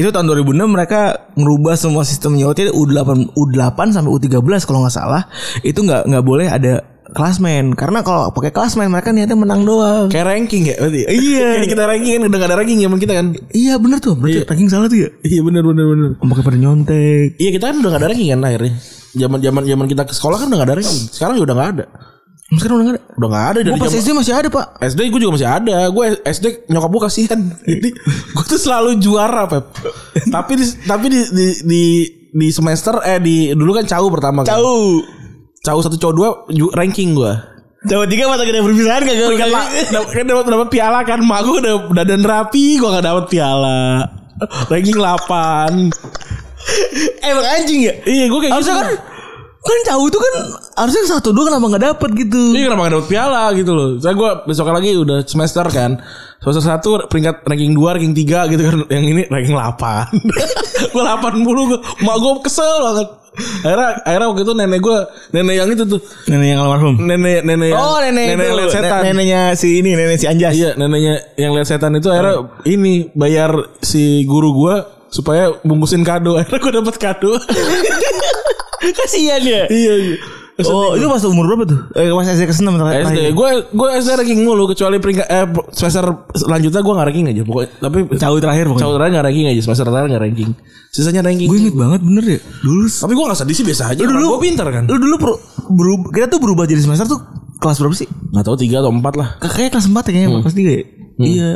Speaker 2: Itu tahun 2006 mereka ngerubah semua sistem nyautnya U8 U8 sampai U13 kalau nggak salah itu nggak nggak boleh ada klasmen karena kalau pakai klasmen mereka niatnya menang doang.
Speaker 3: Kayak ranking ya berarti.
Speaker 2: Iya.
Speaker 3: Jadi kita ranking kan udah gak ada ranking zaman kita kan.
Speaker 2: Iya bener tuh, berarti ranking salah tuh ya.
Speaker 3: Iya bener bener bener.
Speaker 2: Pakai pada nyontek.
Speaker 3: Iya kita kan udah gak ada ranking kan akhirnya. Zaman zaman zaman kita ke sekolah kan udah gak ada ranking. Sekarang ya udah gak ada.
Speaker 2: Mas sekarang udah nggak ada.
Speaker 3: Udah gak ada dari
Speaker 2: Gue pas
Speaker 3: zaman-
Speaker 2: SD masih ada Oh, pak.
Speaker 3: SD gue juga masih ada. Gue SD nyokap gue kasihan. Jadi gue tuh selalu juara, Pep. tapi di, tapi di, di di di semester eh di dulu kan cau pertama kan.
Speaker 2: Tahu.
Speaker 3: Cau satu cau dua ju- ranking gue.
Speaker 2: Jawa tiga masa kita perpisahan gak gak
Speaker 3: Kan dapat dapat dapat piala kan mak gue udah udah dan rapi gue gak dapat piala. Ranking 8.
Speaker 2: Emang anjing ya?
Speaker 3: Iya, gue kayak gitu.
Speaker 2: Harusnya kan kan jauh itu kan harusnya satu dua kenapa nggak dapet gitu?
Speaker 3: Iya kenapa gak dapet piala gitu loh Saya gue besok lagi udah semester kan Semester 1 peringkat ranking 2 ranking 3 gitu kan Yang ini ranking 8 Gue 80 gue Mak gue kesel banget Akhirnya, akhirnya waktu itu nenek gue Nenek yang itu tuh
Speaker 2: Nenek yang almarhum.
Speaker 3: Nenek nenek
Speaker 2: Oh,
Speaker 3: yang, Oh, nenek yang liat setan
Speaker 2: Neneknya si ini, nenek si Anjas.
Speaker 3: Iya neneknya yang lihat setan itu akhirnya Ini bayar si guru gue Supaya bungkusin kado Akhirnya gue dapet kado
Speaker 2: Kasihan ya.
Speaker 3: Iya iya
Speaker 2: Oh, itu pas umur berapa tuh? Eh, pas SD ke-6
Speaker 3: SD gue gue SD ranking mulu kecuali peringkat eh, semester selanjutnya gue gak ranking aja pokoknya tapi
Speaker 2: Jauh terakhir pokoknya.
Speaker 3: Saudara gak ranking aja Semester terakhir gak ranking Sisanya ranking
Speaker 2: Gue inget banget bener ya. Dulu
Speaker 3: Tapi gue gak sedih sih biasa aja
Speaker 2: Lu dulu-
Speaker 3: Gue pinter kan
Speaker 2: lu dulu pro- berub- kita tuh berubah jadi semester tuh kelas berapa sih?
Speaker 3: Gak tau 3 atau 4 lah
Speaker 2: Kakaknya kelas 4 ya kayaknya kelas 3 ya? Iya.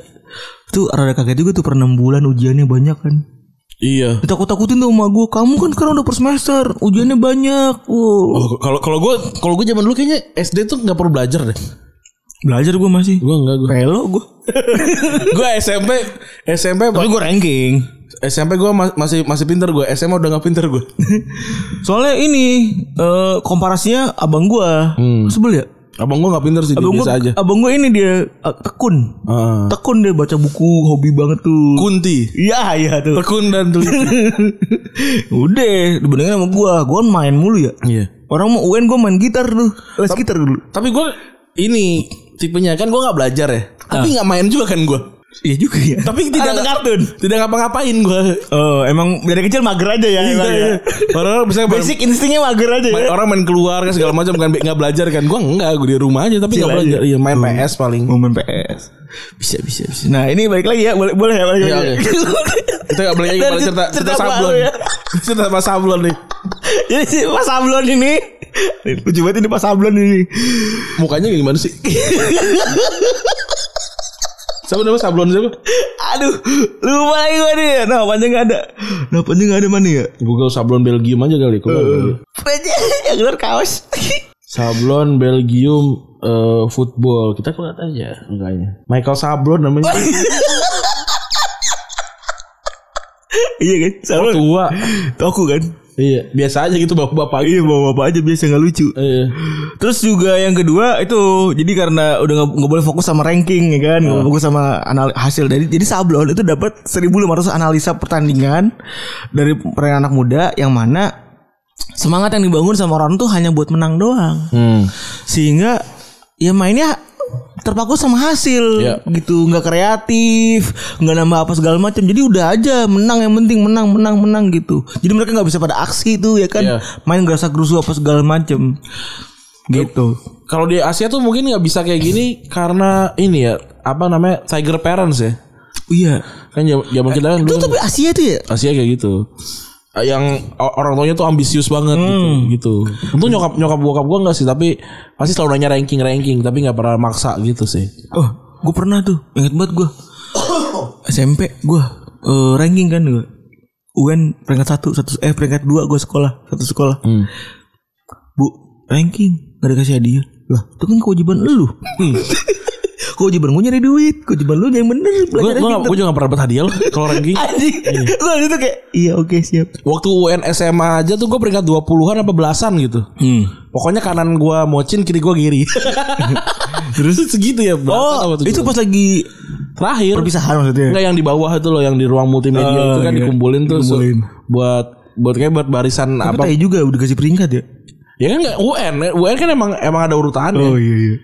Speaker 2: Itu rada kaget juga tuh per 6 bulan ujiannya banyak kan.
Speaker 3: Iya
Speaker 2: Ditakut-takutin tuh sama gue Kamu kan sekarang udah per semester Ujiannya banyak wow.
Speaker 3: Oh, kalau kalau gue kalau gue zaman dulu kayaknya SD tuh nggak perlu belajar deh.
Speaker 2: Belajar gue masih
Speaker 3: Gue nggak gue.
Speaker 2: Pelo gue
Speaker 3: gue SMP SMP
Speaker 2: Tapi gue ranking
Speaker 3: SMP gue ma- masih masih pinter gue. SMA udah nggak pinter gue.
Speaker 2: Soalnya ini eh, Komparasinya abang gue Sebel ya
Speaker 3: Abang gue nggak pinter sih dia
Speaker 2: Abang
Speaker 3: Hmm. biasa aja.
Speaker 2: gue abang gua ini dia eh, Tekun
Speaker 3: Ah.
Speaker 2: Tekun dia baca buku Hobi banget tuh
Speaker 3: Kunti.
Speaker 2: Iya iya tuh
Speaker 3: Tekun dan teliti.
Speaker 2: Udah Dibandingin sama gue Gue kan main mulu ya
Speaker 3: Iya.
Speaker 2: Orang mau UN gue main gitar dulu Les gitar dulu
Speaker 3: Tapi gue ini tipenya kan gue nggak belajar ya. Tapi nggak main juga kan gue.
Speaker 2: Iya juga ya
Speaker 3: Tapi tidak
Speaker 2: Anak kartun.
Speaker 3: Tidak ngapa-ngapain gue.
Speaker 2: Oh emang dari kecil mager aja ya emang ya.
Speaker 3: Iya. Orang-orang bisa
Speaker 2: Basic instingnya mager aja ya
Speaker 3: main, orang main keluar kan segala macam kan nggak belajar kan gue enggak gue di rumah aja tapi nggak
Speaker 2: Chill
Speaker 3: belajar
Speaker 2: aja.
Speaker 3: iya main PS paling
Speaker 2: Momen PS Bisa bisa bisa Nah ini balik lagi ya Boleh, boleh ya balik
Speaker 3: Iya,
Speaker 2: lagi
Speaker 3: kita nggak belajar
Speaker 2: Dari
Speaker 3: kembali cerita cerita,
Speaker 2: cerita baru
Speaker 3: iya. sablon
Speaker 2: ya.
Speaker 3: cerita sama sablon nih
Speaker 2: Jadi si Pak Sablon ini Lucu banget ini Pak Sablon ini
Speaker 3: mukanya kayak gimana sih siapa nama sablon siapa
Speaker 2: Aduh Lupa lagi gue nih Nah panjang gak ada Nah panjang gak ada mana ya
Speaker 3: Google sablon Belgium aja kali keluar kali.
Speaker 2: Yang keluar kaos
Speaker 3: sablon Belgium eh, football kita kulihat aja makanya Michael Sablon namanya
Speaker 2: Iya kan Sablon
Speaker 3: tua
Speaker 2: Toku kan
Speaker 3: iya biasa aja gitu bapak-bapak
Speaker 2: Iya bawa bapak aja biasa gak lucu
Speaker 3: iya
Speaker 2: Terus juga yang kedua itu jadi karena udah nggak nggak boleh fokus sama ranking ya kan, nggak boleh fokus sama anal- hasil dari jadi sablon itu dapat 1.500 analisa pertandingan dari perairan anak muda yang mana semangat yang dibangun sama orang tuh hanya buat menang doang.
Speaker 3: hmm.
Speaker 2: Sehingga ya mainnya terpaku sama hasil
Speaker 3: Iya.
Speaker 2: gitu nggak kreatif nggak nambah apa segala macam jadi udah aja menang yang penting menang menang menang gitu jadi mereka nggak bisa pada aksi tuh ya kan
Speaker 3: Iya.
Speaker 2: main gerasa gerusu apa segala macam gitu
Speaker 3: kalau di Asia tuh mungkin nggak bisa kayak gini karena ini ya apa namanya tiger parents ya
Speaker 2: iya
Speaker 3: kan zaman zaman kita kan
Speaker 2: itu
Speaker 3: dulu
Speaker 2: tapi Asia tuh ya
Speaker 3: Asia kayak gitu Eh, yang o- orang tuanya tuh ambisius banget
Speaker 2: Hmm.
Speaker 3: gitu gitu untung nyokap nyokap bokap gua nggak sih tapi pasti selalu nanya ranking ranking tapi nggak pernah maksa gitu sih
Speaker 2: oh gue pernah tuh inget banget gue SMP gue eh, ranking kan gue UN peringkat satu satu eh peringkat dua gue sekolah satu sekolah
Speaker 3: Hmm.
Speaker 2: bu ranking gak dikasih hadiah lah itu kan kewajiban lu Gue jeban gue nyari duit. Gue jeban lu yang bener.
Speaker 3: Gue
Speaker 2: Belajar yang
Speaker 3: juga gak pernah dapat hadiah loh kalau ranking.
Speaker 2: Anjing. Gue itu kayak iya oke siap.
Speaker 3: Waktu UN SMA aja tuh gue peringkat 20-an apa belasan gitu.
Speaker 2: Hmm.
Speaker 3: Pokoknya kanan gue mocin, kiri gue giri. Terus segitu ya. belasan
Speaker 2: Oh
Speaker 3: apa tuh
Speaker 2: itu
Speaker 3: gua?
Speaker 2: pas lagi
Speaker 3: terakhir.
Speaker 2: perpisahan maksudnya.
Speaker 3: Enggak yang di bawah itu loh yang di ruang multimedia
Speaker 2: Oh,
Speaker 3: itu kan
Speaker 2: iya.
Speaker 3: dikumpulin tuh se-
Speaker 2: Dikumpulin.
Speaker 3: buat buat kayak buat barisan
Speaker 2: Tapi
Speaker 3: apa
Speaker 2: tai juga udah kasih peringkat ya.
Speaker 3: ya kan nggak UN UN kan emang emang ada urutannya
Speaker 2: Oh iya iya.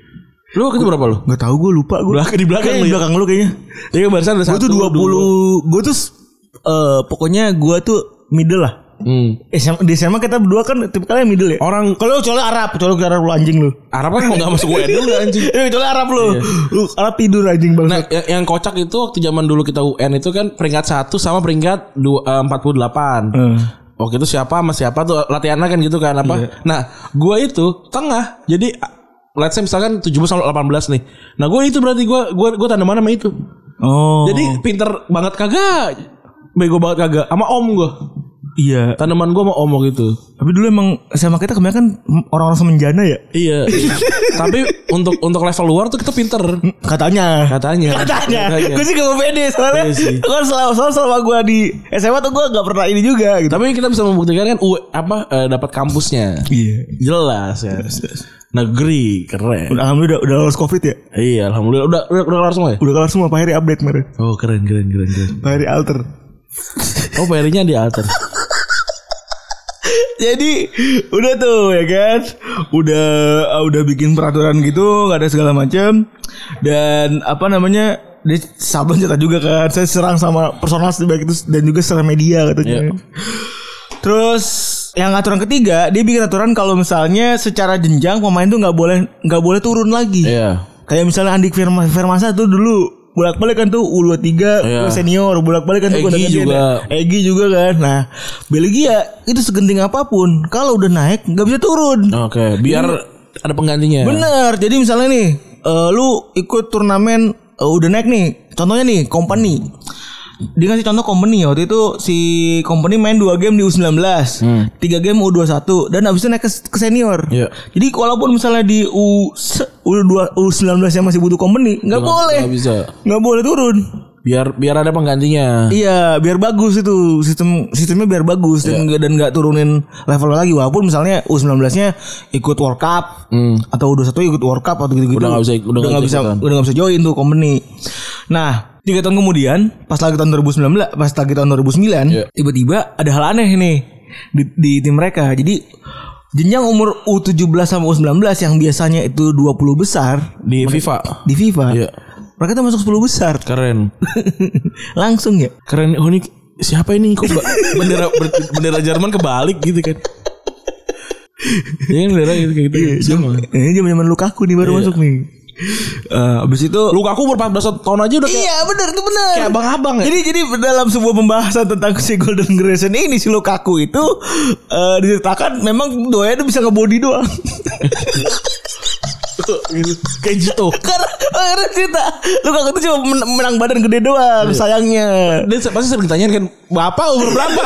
Speaker 3: lu waktu itu berapa lu
Speaker 2: Gak tau gue lupa gue.
Speaker 3: Belakang- di belakang
Speaker 2: Kayaknya
Speaker 3: lu
Speaker 2: di
Speaker 3: ya?
Speaker 2: belakang lu kayaknya.
Speaker 3: Iya barisan ada
Speaker 2: Gue
Speaker 3: satu
Speaker 2: tuh 20 Gue tuh eh, Pokoknya gue tuh middle lah
Speaker 3: dua. Hmm.
Speaker 2: SMA, di SMA kita berdua kan tipikalnya middle ya
Speaker 3: orang
Speaker 2: Kalau lu colok Arab Colok Arab lu anjing lu
Speaker 3: Arab kan nggak masuk UN dulu anjing
Speaker 2: Eh colok Arab lu Lu Arab tidur anjing
Speaker 3: Nah,
Speaker 2: banget
Speaker 3: yang, yang kocak itu waktu zaman dulu kita UN itu kan peringkat 1 sama peringkat dua- eh, 48.
Speaker 2: Hmm.
Speaker 3: Waktu itu siapa sama siapa tuh latihannya kan gitu kan apa.
Speaker 2: Iya.
Speaker 3: Nah, gua itu tengah. Jadi a- let's say misalkan 70 sama 18 nih. Nah, gua itu berarti gua gua gua tanda mana sama itu.
Speaker 2: Oh
Speaker 3: Jadi pinter banget kagak. Bego banget kagak sama om gua.
Speaker 2: Iya
Speaker 3: Tanaman gua sama om waktu itu.
Speaker 2: Tapi dulu emang SMA kita kebanyakan kan Orang-orang semenjana ya
Speaker 3: Iya. Tapi untuk untuk level luar tuh kita pinter
Speaker 2: Katanya
Speaker 3: katanya.
Speaker 2: Katanya Gue sih gak mau pede Soalnya
Speaker 3: Iya sih.
Speaker 2: Gue selama, soalnya selama gue di SMA tuh gue gak pernah ini juga gitu
Speaker 3: Tapi kita bisa membuktikan kan U- apa eh, dapat kampusnya.
Speaker 2: Iya
Speaker 3: Jelas ya. Negeri keren.
Speaker 2: Alhamdulillah udah, udah lolos covid ya
Speaker 3: Iya, alhamdulillah udah udah, udah kelar semua ya.
Speaker 2: Udah kelar semua Pak Heri update kemarin
Speaker 3: Oh, keren keren keren keren.
Speaker 2: Pak Heri alter
Speaker 3: Oh, PR-nya di alter.
Speaker 2: Jadi udah tuh ya kan, udah ah, udah bikin peraturan gitu, nggak ada segala macam dan apa namanya dia sablon cerita juga kan, saya serang sama personal baik itu dan juga serang media katanya.
Speaker 3: Iya.
Speaker 2: Terus yang aturan ketiga dia bikin aturan kalau misalnya secara jenjang pemain tuh nggak boleh nggak boleh turun lagi.
Speaker 3: Iya.
Speaker 2: Kayak misalnya Andik Firma, Firmasa tuh dulu bolak-balik kan tuh U23
Speaker 3: Iya.
Speaker 2: gua senior bolak-balik kan tuh gua
Speaker 3: Egy
Speaker 2: gantian
Speaker 3: juga.
Speaker 2: ya. Egy juga kan. Nah, Belgia itu segenting apapun kalau udah naik nggak bisa turun.
Speaker 3: Oke, biar ada penggantinya.
Speaker 2: Bener. Jadi misalnya nih eh, lu ikut turnamen eh, udah naik nih. Contohnya nih company. Dia ngasih contoh company waktu itu si company main dua game di U19, tiga game U21 dan abis itu naik ke, ke senior.
Speaker 3: Hmm. Iya.
Speaker 2: Jadi walaupun misalnya di U U2 U19 yang masih butuh company, nggak boleh.
Speaker 3: Nggak bisa.
Speaker 2: Nggak boleh turun.
Speaker 3: Biar biar ada penggantinya.
Speaker 2: Iya, biar bagus itu sistem sistemnya biar bagus
Speaker 3: Iya.
Speaker 2: dan nggak dan nggak turunin level lagi walaupun misalnya U19-nya ikut World Cup atau U21 ikut World Cup atau gitu-gitu.
Speaker 3: Hmm. Udah nggak bisa- udah nggak
Speaker 2: nggak
Speaker 3: bisa
Speaker 2: bisa
Speaker 3: ikutan.
Speaker 2: udah nggak bisa join tuh company. Nah, tiga tahun kemudian pas lagi tahun 2019 pas lagi tahun 2009
Speaker 3: Iya.
Speaker 2: tiba-tiba ada hal aneh nih di, di tim mereka. Jadi jenjang umur U17 sama U19 yang biasanya itu 20 besar
Speaker 3: Di FIFA.
Speaker 2: di FIFA.
Speaker 3: Iya.
Speaker 2: Mereka tuh masuk 10 besar.
Speaker 3: Keren.
Speaker 2: Langsung ya.
Speaker 3: Keren. Oh, ini siapa ini kok ba- bendera ber- bendera Jerman kebalik gitu kan. Iya kan bendera gitu kayak gitu. Sama.
Speaker 2: Ini zaman zaman Lukaku nih
Speaker 3: Iya.
Speaker 2: baru masuk nih. Eh, abis itu
Speaker 3: Lukaku umur 14 tahun aja udah kayak
Speaker 2: Iya bener itu bener
Speaker 3: Kayak abang-abang ya?
Speaker 2: Jadi jadi dalam sebuah pembahasan tentang si Golden Generation ini Si Lukaku itu eh, Diceritakan memang doanya dia bisa ngebody doang
Speaker 3: gitu. Kayak gitu.
Speaker 2: Karena karena cerita Lukaku itu cuma men- menang badan gede doang
Speaker 3: Iya.
Speaker 2: Sayangnya
Speaker 3: Dia se- pasti sering ditanyain kan Bapak umur berapa?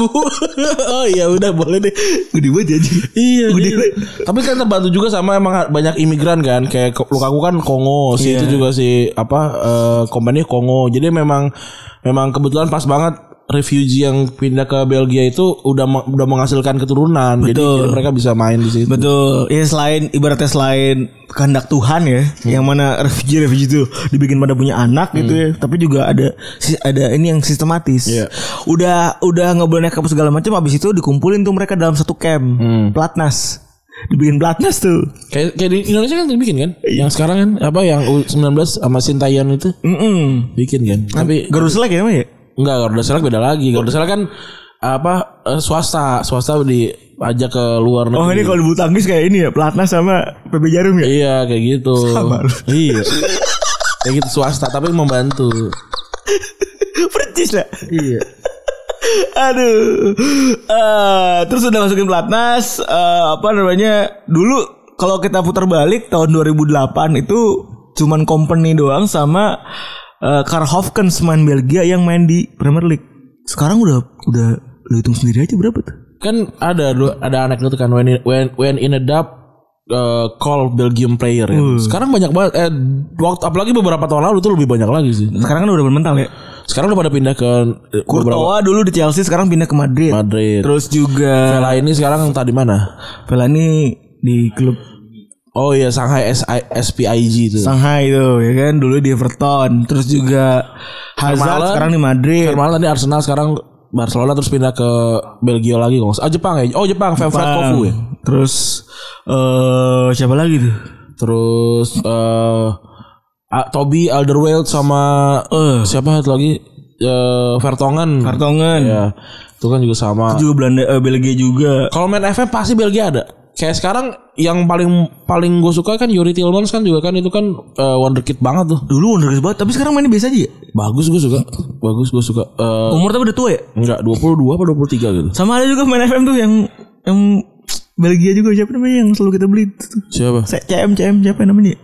Speaker 3: 14 bu Oh iya udah boleh deh
Speaker 2: Gede banget aja
Speaker 3: Iya, iya. Tapi kan terbantu juga sama emang banyak imigran kan Kayak Ko- Lukaku kan Kongo Si itu juga si Apa eh Company Kongo Jadi memang Memang kebetulan pas banget Refugee yang pindah ke Belgia itu Udah me- udah menghasilkan keturunan Jadi,
Speaker 2: Betul.
Speaker 3: jadi mereka bisa main di situ
Speaker 2: Betul. Ya selain ibaratnya selain kehendak Tuhan ya, yang mana refugee refugee itu dibikin pada punya anak gitu ya, tapi juga ada si- ada ini yang sistematis.
Speaker 3: Iya.
Speaker 2: Udah udah nggak boleh naik kapal segala macam, habis itu dikumpulin tuh mereka dalam satu camp, pelatnas. Dibikin pelatnas tuh.
Speaker 3: Kayak, kayak di Indonesia kan dibikin kan Yang sekarang kan Apa yang U19 sama Sintayan itu
Speaker 2: Mm-mm.
Speaker 3: Bikin kan Tapi
Speaker 2: Geruselek ya namanya? ya?
Speaker 3: Enggak, Garuda Select beda lagi. Garuda Select kan apa eh, swasta, swasta diajak ke luar negeri.
Speaker 2: Oh ini kalau di bulu tangkis kayak ini ya, pelatnas sama PB Jarum ya?
Speaker 3: Iya, kayak gitu.
Speaker 2: Sama.
Speaker 3: Iya. kayak gitu swasta tapi membantu.
Speaker 2: Percis lah.
Speaker 3: Iya.
Speaker 2: Aduh. Eh, terus udah masukin pelatnas eh, apa namanya? Dulu kalau kita putar balik tahun 2008 itu cuman company doang sama eh Karhovkens main Belgia yang main di Premier League. Sekarang udah udah lu hitung sendiri aja berapa tuh?
Speaker 3: Kan ada dulu ada anekdot kan when in, when, when in a dub eh, call Belgium player ya.
Speaker 2: Hmm.
Speaker 3: Sekarang banyak banget eh waktu apalagi beberapa tahun lalu tuh lebih banyak lagi sih.
Speaker 2: Sekarang kan udah bermental ya.
Speaker 3: Sekarang udah pada pindah ke eh, beberapa
Speaker 2: Courtois dulu di Chelsea sekarang pindah ke Madrid.
Speaker 3: Madrid.
Speaker 2: Terus juga
Speaker 3: Vela ini sekarang tadi mana?
Speaker 2: Pelani di klub
Speaker 3: Oh iya Shanghai SI SPIG itu.
Speaker 2: Shanghai itu ya kan dulu di Everton. Terus juga Hazard
Speaker 3: Vermaelen.
Speaker 2: sekarang di Madrid.
Speaker 3: Kemarin tadi Arsenal sekarang Barcelona terus pindah ke Belgia lagi kalau nggak salah. Ah Jepang ya. Oh Jepang, Van Fred Kofu ya.
Speaker 2: Terus eh siapa lagi tuh?
Speaker 3: Terus eh ah, Toby Alderweireld sama eh siapa satu lagi? Eh Vertongen.
Speaker 2: Vertonghen.
Speaker 3: Ya. Itu kan juga sama.
Speaker 2: Iya. Juga Belanda eh, Belgia juga.
Speaker 3: Kalau main FM pasti Belgia ada. Kayak sekarang yang paling paling gue suka kan Yuri Tillmans kan juga kan itu kan eh, wonderkid banget tuh.
Speaker 2: Dulu wonderkid banget, tapi sekarang mainnya biasa aja ya?
Speaker 3: Bagus gue suka. Bagus gue suka. Eh
Speaker 2: Umur tapi udah tua ya?
Speaker 3: enggak 22 apa 23 gitu.
Speaker 2: Sama ada juga main FM tuh yang yang Belgia juga siapa namanya yang selalu kita beli itu tuh.
Speaker 3: Siapa?
Speaker 2: Se- CM CM siapa namanya?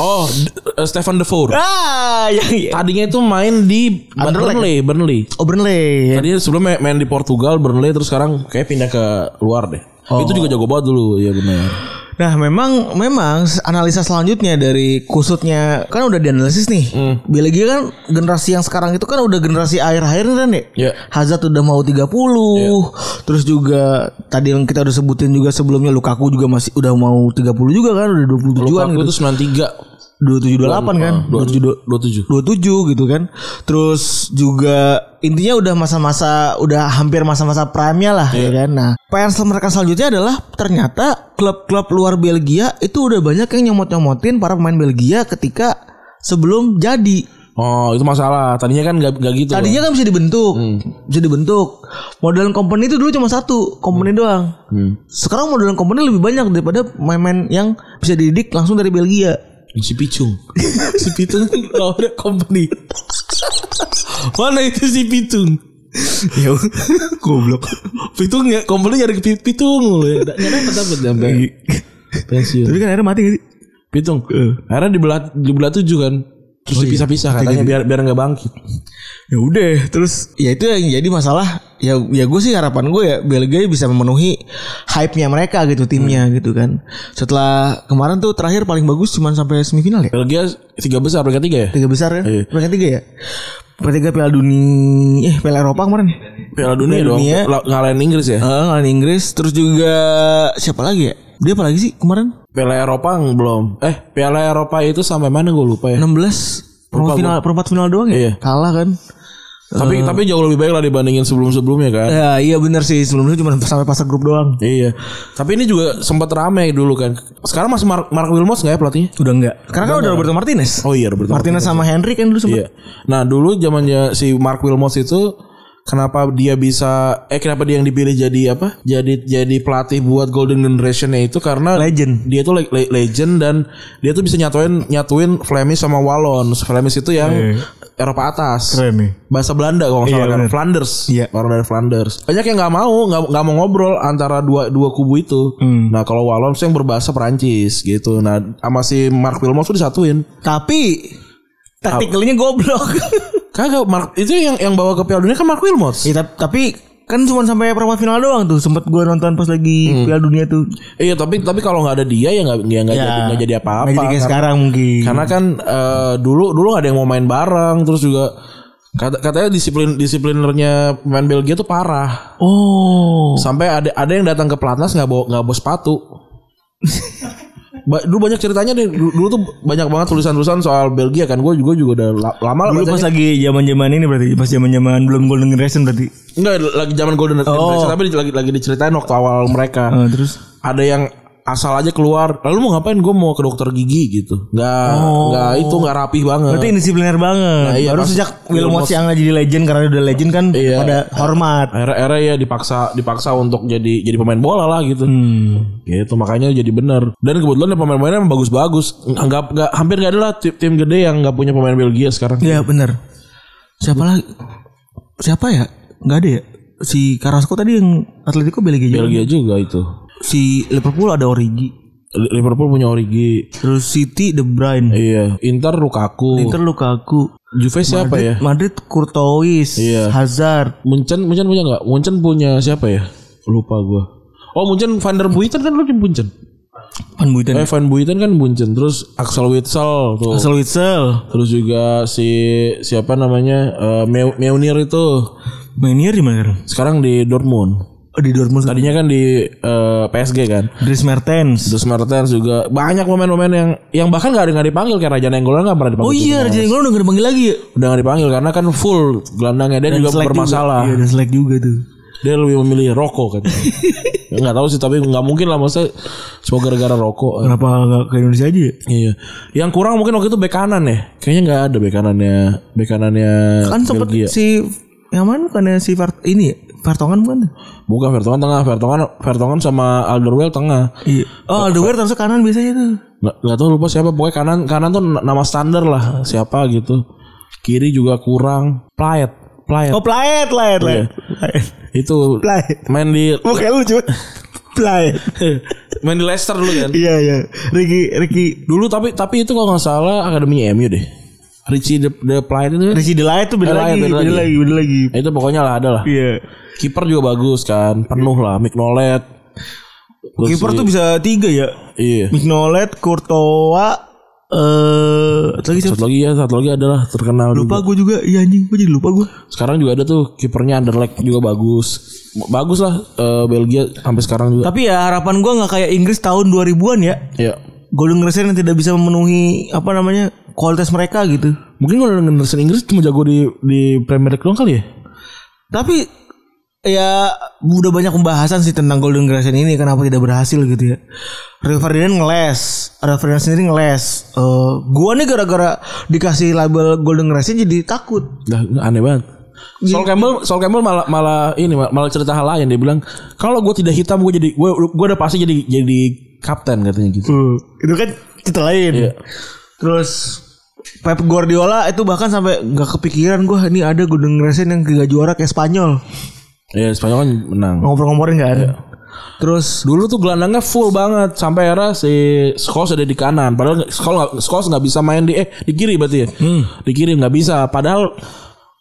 Speaker 3: Oh, D- eh, Stefan Defour.
Speaker 2: Ah, yang
Speaker 3: Tadinya itu main di
Speaker 2: Anderlecht.
Speaker 3: Burnley, Burnley.
Speaker 2: Oberle.
Speaker 3: Tadinya sebelumnya main di Portugal, Burnley terus sekarang kayak pindah ke luar deh.
Speaker 2: Oh.
Speaker 3: Itu juga jago banget dulu, ya benar.
Speaker 2: Nah, memang memang analisa selanjutnya dari kusutnya kan udah dianalisis nih. Belgia kan generasi yang sekarang itu kan udah generasi akhir-akhir nih Dan, ya.
Speaker 3: Iya.
Speaker 2: Hazard udah mau 30. Terus juga tadi yang kita udah sebutin juga sebelumnya Lukaku juga masih udah mau 30 juga kan, udah 27-an
Speaker 3: Lukaku
Speaker 2: gitu.
Speaker 3: itu
Speaker 2: 27
Speaker 3: Oh, 93,
Speaker 2: 28 kan. 27
Speaker 3: 27.
Speaker 2: 27 gitu kan. Terus juga intinya udah masa-masa udah hampir masa-masa prime-nya lah ya kan. Nah, PR sel- mereka selanjutnya adalah ternyata klub-klub luar Belgia itu udah banyak yang nyomot-nyomotin para pemain Belgia ketika sebelum jadi.
Speaker 3: Oh, itu masalah. Tadinya kan gak, gitu. loh.
Speaker 2: Tadinya kan bisa dibentuk, bisa dibentuk. Modelan company itu dulu cuma satu, company doang. Sekarang modelan company lebih banyak daripada pemain-pemain yang bisa dididik langsung dari Belgia.
Speaker 3: Si Picung. si Pitung lawannya company. Mana itu si Pitung?
Speaker 2: Ya, goblok.
Speaker 3: Pitung ya, company nyari ke Pi- ya. Pitung loh. Enggak dapat dapat sampai pensiun.
Speaker 2: Tapi kan Eh. akhirnya mati gak sih?
Speaker 3: Pitung. Akhirnya dibelah dibelah tujuh kan.
Speaker 2: Oh,
Speaker 3: Terus
Speaker 2: iya.
Speaker 3: dipisah-pisah katanya biar biar nggak bangkit.
Speaker 2: ya udah terus ya itu yang jadi masalah ya ya gue sih harapan gue ya Belgia bisa memenuhi hype nya mereka gitu timnya gitu kan setelah kemarin tuh terakhir paling bagus cuman sampai semifinal ya
Speaker 3: Belgia tiga besar, peringkat tiga ya.
Speaker 2: tiga besar kan
Speaker 3: Iya.
Speaker 2: mereka tiga ya Peringkat tiga Piala Dunia eh Piala Eropa kemarin ya
Speaker 3: Piala dunia,
Speaker 2: Piala
Speaker 3: dong.
Speaker 2: dunia.
Speaker 3: La- Ngalahin Inggris ya.
Speaker 2: Eh, ngalahin Inggris terus juga siapa lagi ya dia apa lagi sih kemarin
Speaker 3: Piala Eropa ng- belum. Eh, Piala Eropa itu sampai mana gue lupa ya.
Speaker 2: 16 Eh, perempat
Speaker 3: Lupa
Speaker 2: final perempat final doang ya
Speaker 3: Iya.
Speaker 2: kalah kan
Speaker 3: Tapi tapi jauh lebih baik lah dibandingin sebelum-sebelumnya kan.
Speaker 2: ya iya bener sih sebelumnya cuma sampai pasar grup doang
Speaker 3: Iya. Tapi ini juga sempat ramai dulu kan. Sekarang masih Mark, Mark Wilmots nggak ya pelatihnya?
Speaker 2: udah enggak karena kan udah Roberto Martinez
Speaker 3: Oh iya, Roberto
Speaker 2: Martinez sama Henry kan dulu sempet
Speaker 3: Iya. Nah dulu zamannya si Mark Wilmots itu kenapa dia bisa eh kenapa dia yang dipilih jadi apa? Jadi jadi pelatih buat Golden Generation itu karena
Speaker 2: Legend.
Speaker 3: Dia tuh le- le- legend dan dia tuh bisa nyatuin nyatuin Flemish sama Wallon. Flemish itu yang Eropa atas.
Speaker 2: Iya, Keren nih.
Speaker 3: Bahasa Belanda kalau nggak salah kan Flanders.
Speaker 2: Iya.
Speaker 3: Orang dari Flanders. Banyak yang nggak mau nggak nggak mau ngobrol antara dua dua kubu itu.
Speaker 2: Hmm.
Speaker 3: Nah kalau Wallon tuh yang berbahasa Perancis gitu. Nah sama si Mark Wilmots tuh disatuin.
Speaker 2: Tapi taktikalnya goblok.
Speaker 3: Kagak Mark itu yang yang bawa ke Piala Dunia kan Mark Wilmots.
Speaker 2: ya, tap- tapi kan cuma sampai perempat final doang tuh. Sempet gue nonton pas lagi Piala Dunia tuh.
Speaker 3: Iya tapi tapi kalau nggak ada dia ya nggak ya Hmm. nggak jadi nggak jadi
Speaker 2: Nggak
Speaker 3: apa-apa.
Speaker 2: jadi kayak
Speaker 3: Karena-
Speaker 2: sekarang mungkin.
Speaker 3: Karena kan eh, dulu dulu nggak ada yang mau main bareng terus juga kata katanya disiplin disiplinernya pemain Belgia tuh parah.
Speaker 2: oh.
Speaker 3: Sampai ada ada yang datang ke pelatnas nggak bawa nggak bawa sepatu. Ba- dulu banyak ceritanya deh dulu, dulu tuh banyak banget tulisan-tulisan soal Belgia kan gue juga juga udah la- lama lah
Speaker 2: Dulu pas
Speaker 3: bacanya.
Speaker 2: lagi zaman-zaman ini berarti pas zaman-zaman belum Golden Generation tadi.
Speaker 3: Enggak lagi zaman
Speaker 2: Oh.
Speaker 3: Golden Generation tapi lagi lagi diceritain waktu awal mereka.
Speaker 2: Eh, terus
Speaker 3: ada yang asal aja keluar lalu mau ngapain gue mau ke dokter gigi gitu nggak nggak itu nggak rapih banget
Speaker 2: Oh. berarti indisipliner banget.
Speaker 3: Eh. Nah, iya,
Speaker 2: Baru
Speaker 3: pas
Speaker 2: sejak
Speaker 3: Wilmots-
Speaker 2: Wilmots yang nggak jadi legend karena udah legend kan
Speaker 3: Iya.
Speaker 2: ada hormat.
Speaker 3: akhirnya, akhirnya ya dipaksa dipaksa untuk jadi jadi pemain bola lah gitu
Speaker 2: Hmm.
Speaker 3: gitu makanya jadi benar dan kebetulan ya pemain-pemainnya emang bagus-bagus nggak nggak hampir nggak ada lah tim, tim gede yang nggak punya pemain Belgia sekarang
Speaker 2: Iya bener Siapa lagi? Siapa ya? Nggak ada ya? Si Carrasco tadi yang Atletico Belgia juga.
Speaker 3: Belgia juga itu
Speaker 2: Si Liverpool ada Origi.
Speaker 3: Li- Liverpool punya Origi
Speaker 2: Terus City De Bruyne.
Speaker 3: iya Inter Lukaku
Speaker 2: Inter Lukaku.
Speaker 3: Juve siapa ya
Speaker 2: Madrid Courtois,
Speaker 3: Iya.
Speaker 2: Hazard.
Speaker 3: Munchen Munchen punya nggak Munchen punya siapa ya lupa gue oh Munchen Van der Buiten kan lu di Munchen
Speaker 2: Van Buiten.
Speaker 3: Eh Van Buiten kan Buncen terus Axel Witsel tuh.
Speaker 2: Axel Witsel.
Speaker 3: Terus juga si siapa namanya eh, Meu- Meunier itu
Speaker 2: Manier di mana?
Speaker 3: sekarang di Dortmund.
Speaker 2: Oh, di Dortmund.
Speaker 3: Tadinya kan di eh, PSG kan.
Speaker 2: Dries Mertens.
Speaker 3: Terus Mertens juga banyak pemain-pemain yang yang bahkan nggak ada nggak dipanggil kayak Raja Nenggolan nggak pernah dipanggil.
Speaker 2: Oh iya, Raja Nenggolan udah gak dipanggil lagi ya?
Speaker 3: Udah nggak dipanggil karena kan full gelandangnya dan, juga
Speaker 2: Slack
Speaker 3: bermasalah.
Speaker 2: Juga. Iya, dan slack juga tuh.
Speaker 3: Dia lebih memilih rokok katanya. Ya, nggak tahu sih tapi nggak mungkin lah masa cuma gara-gara eh. rokok.
Speaker 2: Kenapa gak ke Indonesia aja ya?
Speaker 3: Iya. Yang kurang mungkin waktu itu bek kanan ya. Kayaknya nggak ada bek kanannya bek kanannya
Speaker 2: Kan sempet
Speaker 3: Belgia.
Speaker 2: si yang mana bukannya si Vart ini ya? Vartongan bukan?
Speaker 3: Bukan Vertonghen tengah, Vertonghen Vertonghen sama Alderweireld tengah.
Speaker 2: Iya. Oh, Aldewer terus kanan biasanya tuh.
Speaker 3: Nggak, nggak tahu lupa siapa pokoknya kanan kanan tuh na- nama standar lah siapa gitu. Kiri juga kurang. Playet, Playet.
Speaker 2: Oh, Plaet, Plaet,
Speaker 3: Iya.
Speaker 2: Plaet. Plaet.
Speaker 3: itu
Speaker 2: Playet.
Speaker 3: main di
Speaker 2: Bukan lu cuma Plaet.
Speaker 3: main di Leicester dulu kan.
Speaker 2: Iya, iya. Ricky Ricky
Speaker 3: Dulu tapi tapi itu kalau nggak salah akademinya MU deh. Richie the, the Playet itu kan.
Speaker 2: Ricky Delight tuh beda
Speaker 3: Delight,
Speaker 2: lagi,
Speaker 3: beda
Speaker 2: beda
Speaker 3: lagi.
Speaker 2: lagi, beda lagi.
Speaker 3: Nah, Itu pokoknya lah ada lah.
Speaker 2: Iya.
Speaker 3: Kiper juga bagus kan, penuh lah Mignolet. Terus
Speaker 2: Kiper
Speaker 3: si-
Speaker 2: tuh bisa tiga ya.
Speaker 3: iya.
Speaker 2: Mignolet, Courtois, eh satu lagi siapa?
Speaker 3: Satu lagi ya, satu lagi adalah terkenal
Speaker 2: Lupa
Speaker 3: juga.
Speaker 2: gue juga, iya anjing, gue jadi lupa gue.
Speaker 3: Sekarang juga ada tuh kipernya Anderlecht juga bagus. Bagus lah eh, Belgia sampai sekarang juga.
Speaker 2: Tapi ya harapan gue nggak kayak Inggris tahun 2000-an ya.
Speaker 3: Ya.
Speaker 2: Golden Grace yang tidak bisa memenuhi apa namanya kualitas mereka gitu.
Speaker 3: Mungkin kalau Anderson Inggris cuma jago di di Premier League doang kali ya.
Speaker 2: Tapi ya udah banyak pembahasan sih tentang Golden Grace ini kenapa tidak berhasil gitu ya. Rio Ferdinand ngeles, Rio Ferdinand sendiri ngeles. Eh, gua nih gara-gara dikasih label Golden Grace jadi takut.
Speaker 3: Dah aneh banget. Sol Campbell, Sol Campbell malah malah ini mal- malah cerita hal lain dia bilang kalau gue tidak hitam gue jadi gue gue udah pasti jadi jadi kapten katanya gitu.
Speaker 2: itu kan cerita lain.
Speaker 3: Iya.
Speaker 2: Terus Pep Guardiola itu bahkan sampai nggak kepikiran gua ini ada Golden Grace yang gak juara kayak Spanyol.
Speaker 3: Ya Spanyol kan menang.
Speaker 2: Ngobrol-ngobrolin nggak ada. Terus
Speaker 3: Dulu tuh gelandangnya full banget sampai era si Scholes ada di kanan. Padahal Scholes nggak- Scholes nggak bisa main di eh di kiri berarti ya. Di kiri nggak bisa. Padahal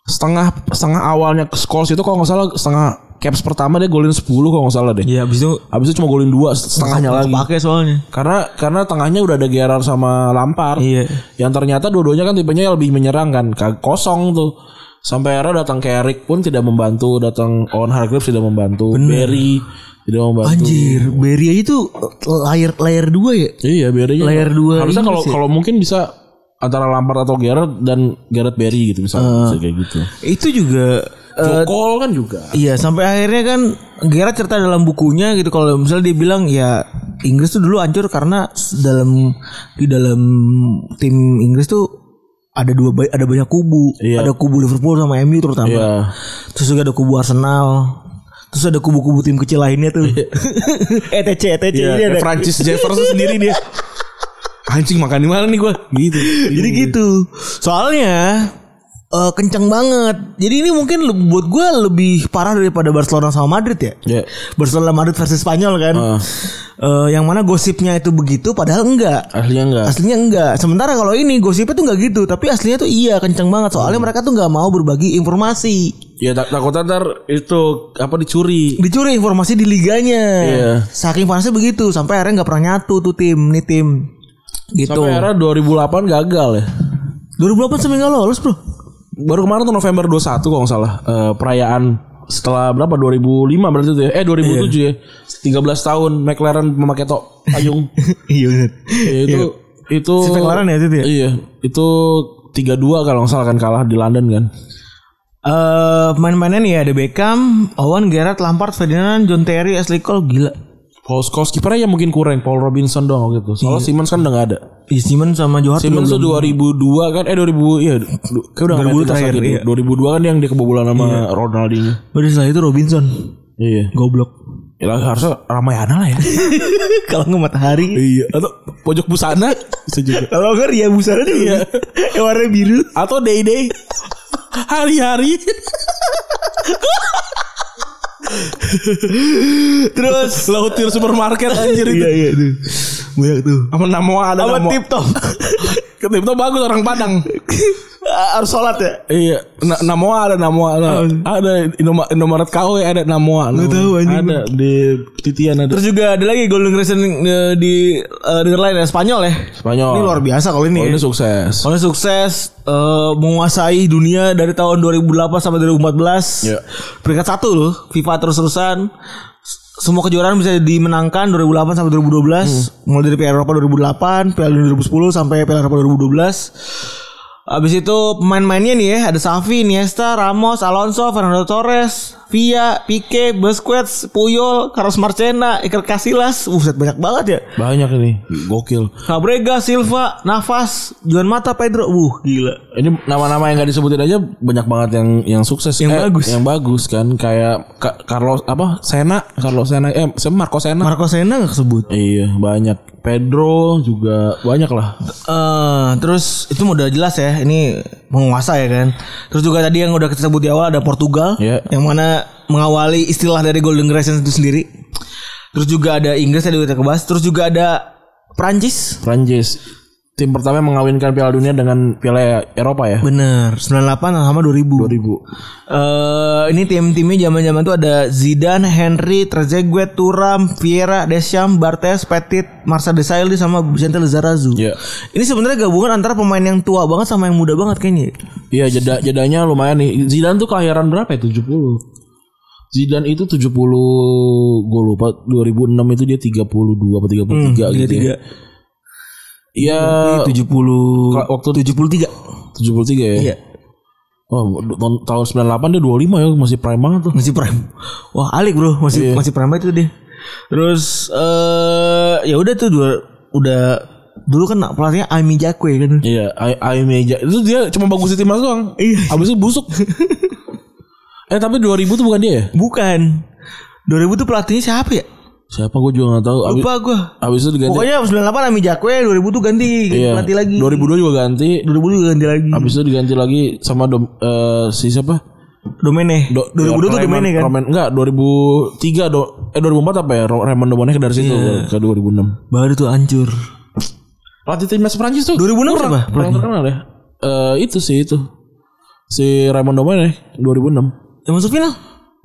Speaker 3: setengah setengah awalnya Scholes itu kalau nggak salah setengah caps pertama dia golin 10 kalau nggak salah deh.
Speaker 2: Ya abis itu
Speaker 3: Habis itu cuma golin dua setengahnya lagi.
Speaker 2: pakai soalnya.
Speaker 3: Karena karena tengahnya udah ada Gerard sama Lampard.
Speaker 2: Iya.
Speaker 3: Yang ternyata dua-duanya kan tipenya lebih menyerang kan. Ka- Kosong tuh. Sampai era datang Carrick pun tidak membantu, datang Owen Hargreaves tidak membantu, Berry tidak membantu.
Speaker 2: Anjir, Berry aja tuh eh, layer layer dua ya.
Speaker 3: Iya, Berry.
Speaker 2: Layer dua
Speaker 3: Harusnya
Speaker 2: Inggris
Speaker 3: kalau kalau mungkin bisa antara Lampard atau Gerard dan Gerard Berry gitu misalnya Bisa kayak gitu.
Speaker 2: Itu juga eh,
Speaker 3: Jokol kan juga.
Speaker 2: Iya sampai akhirnya kan Gerard cerita dalam bukunya gitu kalau misalnya dia bilang ya Inggris tuh dulu hancur karena s- dalam di dalam tim Inggris tuh ada dua ba- ada banyak kubu
Speaker 3: Iya.
Speaker 2: ada kubu Liverpool sama MU terutama
Speaker 3: Iya.
Speaker 2: terus juga ada kubu Arsenal terus ada kubu-kubu tim kecil lainnya tuh Eh, ETC ETC ini ada
Speaker 3: Iya, kayak Francis Jefferson sendiri dia. Anjing makan di mana nih gua? Gitu.
Speaker 2: Jadi gitu. Soalnya eh, kencang banget. Jadi ini mungkin le- buat gue lebih parah daripada Barcelona sama Madrid ya.
Speaker 3: Ya. Ah.
Speaker 2: Barcelona Madrid versus Spanyol kan. Eh, yang mana gosipnya itu begitu padahal enggak.
Speaker 3: Aslinya enggak.
Speaker 2: Aslinya enggak. Sementara kalau ini gosipnya tuh enggak gitu, tapi aslinya tuh iya kencang banget. Soalnya mereka tuh enggak mau berbagi informasi.
Speaker 3: Ya tak takutnya ntar itu apa dicuri.
Speaker 2: Dicuri informasi di liganya.
Speaker 3: Iya.
Speaker 2: Saking panasnya begitu sampai akhirnya enggak pernah nyatu tuh tim, nih tim. Gitu.
Speaker 3: Sampai era 2008 gagal ya.
Speaker 2: 2008 sampai enggak lolos, Bro.
Speaker 3: Baru kemarin tuh November 21 kalau nggak salah eh, perayaan setelah berapa 2005 berarti itu ya. Eh 2007 ya. 13 tahun McLaren memakai tok payung.
Speaker 2: Iya bener.
Speaker 3: ya, itu itu
Speaker 2: Si McLaren ya, itu ya?
Speaker 3: Iya, itu 3-2 kalau nggak salah kan kalah di London kan.
Speaker 2: Eh main-mainnya nih ya ada Beckham, Owen, Gerrard, Lampard, Ferdinand, John Terry, Ashley Cole gila.
Speaker 3: Paul Scholes kipernya ya mungkin kurang Paul Robinson dong gitu. Soalnya Simmons kan udah nggak ada.
Speaker 2: Ih, Simon sama Johar
Speaker 3: Simmons tuh 2002 kan eh 2000 iya du- kayak udah
Speaker 2: 2000
Speaker 3: 2002
Speaker 2: terakhir, iya.
Speaker 3: 2002 kan yang dia kebobolan sama Ronaldinho.
Speaker 2: Udah setelah itu Robinson.
Speaker 3: Iya.
Speaker 2: Goblok.
Speaker 3: Ya lah, harusnya Ramayana lah ya.
Speaker 2: Kalau nggak matahari.
Speaker 3: iya, atau pojok busana bisa juga.
Speaker 2: Kalau nggak Ria Busana dia. Yang warna biru.
Speaker 3: Atau day day. Hari-hari. Terus lautir supermarket anjir itu.
Speaker 2: iya tuh. Banyak tuh.
Speaker 3: Sama Namoa ada
Speaker 2: Sama
Speaker 3: Namoa.
Speaker 2: Tip Top.
Speaker 3: Tip Top bagus orang Padang.
Speaker 4: harus sholat ya
Speaker 3: Iya, Na- Namoa ada Namoa ada, ada Inoma- Indomaret KW ada Namoa.
Speaker 4: Oh.
Speaker 3: Gak
Speaker 4: tahu, anjing.
Speaker 3: Ada di Titian ada.
Speaker 2: Terus juga ada lagi Golden Generation eh, di eh, di lain ya Spanyol ya.
Speaker 3: Spanyol.
Speaker 4: ini luar biasa kalau ini
Speaker 3: Oh,
Speaker 4: ya.
Speaker 3: ini sukses.
Speaker 2: Oleh sukses eh, menguasai dunia dari tahun 2008 sampai 2014.
Speaker 3: Iya.
Speaker 2: Peringkat satu loh FIFA terus-terusan S- semua kejuaraan bisa dimenangkan 2008 sampai 2012 mulai dari Piala Eropa 2008 Piala Dunia 2010 sampai Piala Eropa 2012 Abis itu pemain-mainnya nih ya Ada Xavi, Iniesta, Ramos, Alonso, Fernando Torres Villa, Pique, Busquets, Puyol, Carlos Marchena, Iker Casillas Buset banyak banget ya
Speaker 3: Banyak ini. Gokil.
Speaker 2: Cabrega, Silva, Navas, Juan Mata, Pedro. Uh, Wuh, gila.
Speaker 3: Ini nama-nama yang gak disebutin aja banyak banget yang yang sukses yang
Speaker 2: bagus.
Speaker 3: yang bagus kan kayak Ka- Carlos apa Sena Carlos Sena eh siapa? Marco Sena
Speaker 2: Marco Sena gak kesebut.
Speaker 3: iya banyak Pedro juga banyak lah
Speaker 2: Eh, terus itu udah jelas ya, ini menguasai ya kan. Terus juga tadi yang udah kita sebut di awal ada Portugal
Speaker 3: Iya.
Speaker 2: yang mana mengawali istilah dari Golden Generation itu sendiri. Terus juga ada Inggris tadi udah kita bahas, terus juga ada Prancis.
Speaker 3: Prancis tim pertama yang mengawinkan Piala Dunia dengan Piala Eropa
Speaker 4: Iya.
Speaker 3: ya
Speaker 2: Bener, 98 sama 2000.
Speaker 3: 2000
Speaker 2: Eh, ini tim-timnya zaman-zaman tuh ada Zidane, Henry, Trezeguet, Turam, Vieira, Deschamps, Bartes, Petit, Marcel Desailly sama Vicente Lizarazu.
Speaker 3: Iya.
Speaker 2: Ini sebenarnya gabungan antara pemain yang tua banget sama yang muda banget kayaknya.
Speaker 3: Iya jeda jedanya lumayan nih. Zidane tuh kelahiran berapa ya? 70. Zidane itu 70 gue lupa 2006 itu dia 32 apa 33
Speaker 2: Hmm,
Speaker 3: gitu. ya. Iya.
Speaker 2: Oh. 70
Speaker 3: kela- waktu 73. 73 ya.
Speaker 2: Iya.
Speaker 3: Oh, tahun, tahun 98 dia 25 ya masih prime banget tuh.
Speaker 2: masih prime. Wah, alik bro, masih masih prime banget itu dia. Iya. Terus eh ya udah tuh dua, udah dulu kan pelatihnya Ami Jakwe kan.
Speaker 3: Iya, A- Aime aja. Itu dia cuma bagus di timnas doang.
Speaker 2: Iya.
Speaker 3: Habis itu busuk. eh tapi 2000 tuh bukan dia ya?
Speaker 2: Bukan. 2000 tuh pelatihnya siapa ya?
Speaker 3: Siapa gue juga gak tahu. Abis,
Speaker 2: Lupa gua.
Speaker 3: abis itu diganti.
Speaker 2: Pokoknya 98 Ami Jakwe 2000 tuh ganti
Speaker 3: iya.
Speaker 2: ganti lagi.
Speaker 3: 2002 juga ganti.
Speaker 2: 2000 juga ganti lagi.
Speaker 3: Habis itu diganti lagi sama dom, eh, si siapa?
Speaker 2: Domene.
Speaker 3: Do-
Speaker 2: 2002 tuh
Speaker 3: Raymond-
Speaker 2: Domene kan.
Speaker 3: Raymond- enggak, 2003 do, eh 2004 apa ya? Ro- Raymond Domenech dari situ ke 2006.
Speaker 2: Baru tuh hancur.
Speaker 3: Iya. Pelatih timnas Prancis tuh.
Speaker 2: 2006
Speaker 3: kurang-
Speaker 2: siapa
Speaker 3: Kurang terkenal ya. Eh itu sih itu. Si Raymond Domenech 2006.
Speaker 2: Yang masuk final.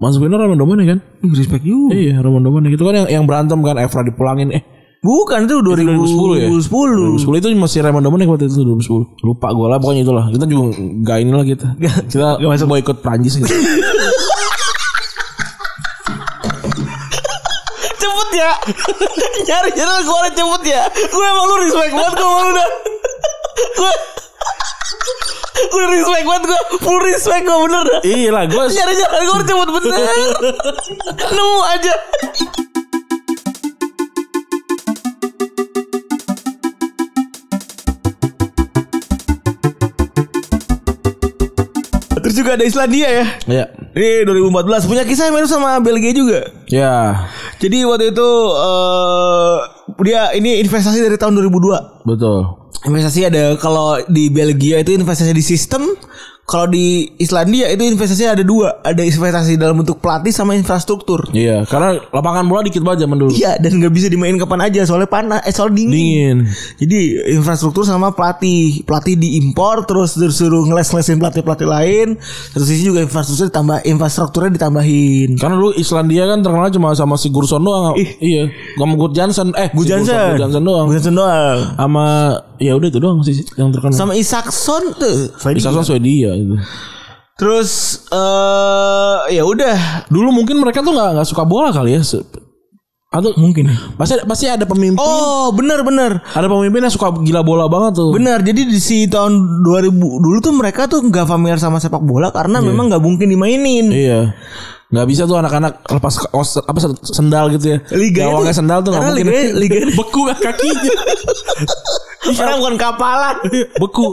Speaker 3: Masukin Raymond Domenech kan?
Speaker 2: Ih, respect you.
Speaker 3: Iya, Raymond Domenech itu kan yang, yang berantem kan Evra dipulangin eh
Speaker 2: Bukan itu
Speaker 3: 2010 ya?
Speaker 2: 2010.
Speaker 3: 2010 itu masih Raymond Domenech waktu itu 2010. Lupa gue lah pokoknya itulah. Kita juga gak inilah kita. Kita mau ikut Prancis gitu.
Speaker 2: cepet ya nyari channel gue ada cepet ya gue emang lu respect banget gue malu udah gue gue respect banget gue full respect gue bener dah
Speaker 3: iya lah, gue
Speaker 2: nyari channel gue cepet bener nemu aja Terus juga ada Islandia ya.
Speaker 3: Iya.
Speaker 2: Ini 2014 punya kisah yang mirip sama Belgia juga.
Speaker 3: Ya,
Speaker 2: Jadi waktu itu eh dia ini investasi dari tahun 2002.
Speaker 3: betul.
Speaker 2: Investasi ada kalau di Belgia itu investasi di sistem, kalau di Islandia itu investasi ada dua, ada investasi dalam bentuk pelatih sama infrastruktur.
Speaker 3: Iya, karena lapangan bola dikit banget zaman dulu.
Speaker 2: Iya dan nggak bisa dimain kapan aja soalnya panas, eh soalnya dingin.
Speaker 3: Dingin.
Speaker 2: Jadi infrastruktur sama pelatih, pelatih diimpor terus disuruh ngeles-ngelesin pelatih-pelatih lain. Terus sisi juga infrastruktur ditambah infrastrukturnya ditambahin.
Speaker 3: Karena dulu Islandia kan terkenal cuma sama si Gurson doang. Iya. Sama Gurt Jansen. Eh,
Speaker 2: Gu
Speaker 3: si Gurson,
Speaker 2: Jansen.
Speaker 3: Gurt Jansen doang.
Speaker 2: Gudjansson doang.
Speaker 3: Sama ya udah itu doang sih yang terkenal.
Speaker 2: Sama
Speaker 3: Sama
Speaker 2: Isakson tuh.
Speaker 3: Isaksson Swedia itu.
Speaker 2: Terus eh ya udah.
Speaker 3: Dulu mungkin mereka tuh nggak nggak suka bola kali ya. Se- Atau mungkin. Pasti pasti ada pemimpin.
Speaker 2: Oh, bener bener.
Speaker 3: Ada pemimpin yang suka gila bola banget tuh.
Speaker 2: Benar, jadi di si tahun 2000 dulu tuh mereka tuh nggak familiar sama sepak bola karena memang nggak mungkin dimainin.
Speaker 3: Iya. Nggak bisa tuh anak-anak lepas kaos apa sendal gitu ya.
Speaker 2: Liga itu-
Speaker 3: Gawangnya sendal tuh nggak
Speaker 2: karena
Speaker 3: mungkin.
Speaker 2: liga- liga-
Speaker 3: beku kan kakinya.
Speaker 2: Karena bukan kapalan,
Speaker 3: beku.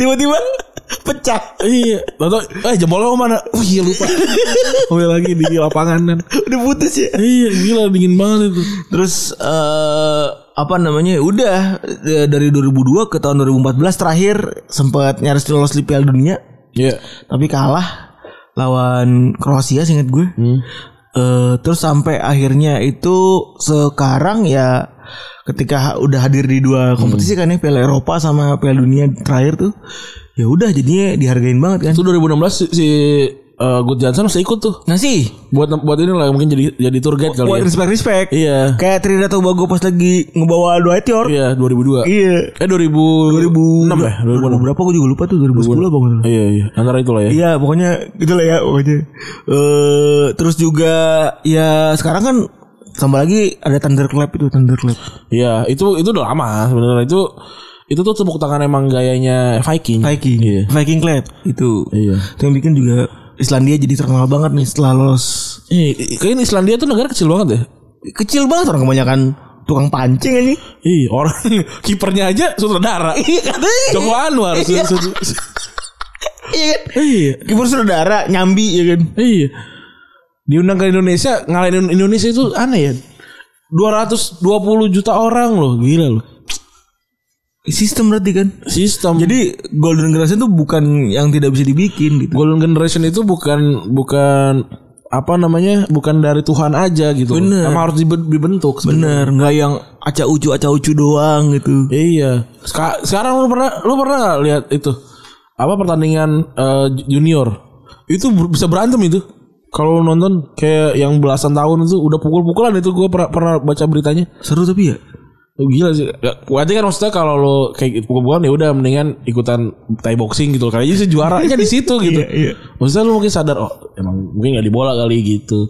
Speaker 2: tiba-tiba pecah.
Speaker 3: Iya, lalu eh jempol lo mana? Oh iya lupa. Kembali lagi di lapangan kan.
Speaker 2: Udah putus ya.
Speaker 3: Iya, gila dingin banget itu.
Speaker 2: Terus eh apa namanya? Udah eh, dari 2002 ke tahun 2014 terakhir sempat nyaris lolos di Piala Dunia
Speaker 3: Iya.
Speaker 2: tapi kalah lawan Kroasia
Speaker 3: Hmm.
Speaker 2: seingat gue. Eh terus sampai akhirnya itu sekarang ya ketika udah hadir di dua kompetisi kan ya Piala Eropa sama Piala Dunia terakhir tuh ya udah jadinya dihargain banget kan
Speaker 3: Itu 2016 si, si eh, Good Johnson masih ikut tuh.
Speaker 2: nah sih
Speaker 3: Buat buat ini lah mungkin jadi jadi tour guide kali
Speaker 2: buat
Speaker 3: ya.
Speaker 2: respect respect
Speaker 3: Iya.
Speaker 2: kayak Trinidad Tobago pas lagi ngebawa dua etior
Speaker 3: Iya, 2002.
Speaker 2: iya
Speaker 3: Eh 2000 2006 ya?
Speaker 2: 2000 berapa gue juga lupa tuh 2010 apa nggak salah.
Speaker 3: Iya, iya. Antara itulah ya.
Speaker 2: Iya pokoknya itulah ya pokoknya. Eh terus juga ya sekarang kan tambah lagi ada thunderclap itu thunderclap.
Speaker 3: Iya, itu itu udah lama sebenarnya. Itu itu tuh tepuk tangan emang gayanya Viking.
Speaker 2: Viking.
Speaker 3: Iya.
Speaker 2: Viking clap itu.
Speaker 3: Iya.
Speaker 2: Itu yang bikin juga Islandia jadi terkenal banget nih setelah lolos.
Speaker 3: Iya, kayaknya Islandia tuh negara kecil banget ya.
Speaker 2: Kecil banget orang kebanyakan tukang pancing aja.
Speaker 3: Iya, orang kipernya aja sutradara.
Speaker 2: Iya katanya.
Speaker 3: Joko Anwar. su- su- su-
Speaker 2: Iya kan.
Speaker 3: Iya.
Speaker 2: Kipur saudara nyambi ya kan.
Speaker 3: Iya. Diundang ke Indonesia, ngalahin Indonesia itu aneh ya. 220 juta orang loh, gila loh.
Speaker 2: Sistem berarti kan.
Speaker 3: Sistem. Jadi
Speaker 2: Jadi Golden Generation tuh bukan yang tidak bisa dibikin gitu.
Speaker 3: Golden Generation itu bukan bukan apa namanya? Bukan dari Tuhan aja gitu.
Speaker 2: Bener.
Speaker 3: Emang harus dibe- dibentuk. sebenarnya.
Speaker 2: Bener, nggak yang acak ucu acak ucu doang gitu.
Speaker 3: Iya. Seka- sekarang lu pernah lu pernah nggak lihat itu? Apa pertandingan eh, junior? Itu ber- bisa berantem itu. Kalau lu nonton kayak yang belasan tahun itu udah pukul-pukulan itu gue pernah, pernah baca beritanya.
Speaker 2: Seru tapi ya.
Speaker 3: Lu Gila sih. Ya, Berarti kan maksudnya kalau lo kayak gitu, pukul-pukulan ya udah mendingan ikutan Thai boxing gitu. Karena jadi juaranya di situ gitu.
Speaker 2: Iya, iya.
Speaker 3: Maksudnya lu mungkin sadar oh emang mungkin nggak di bola kali gitu.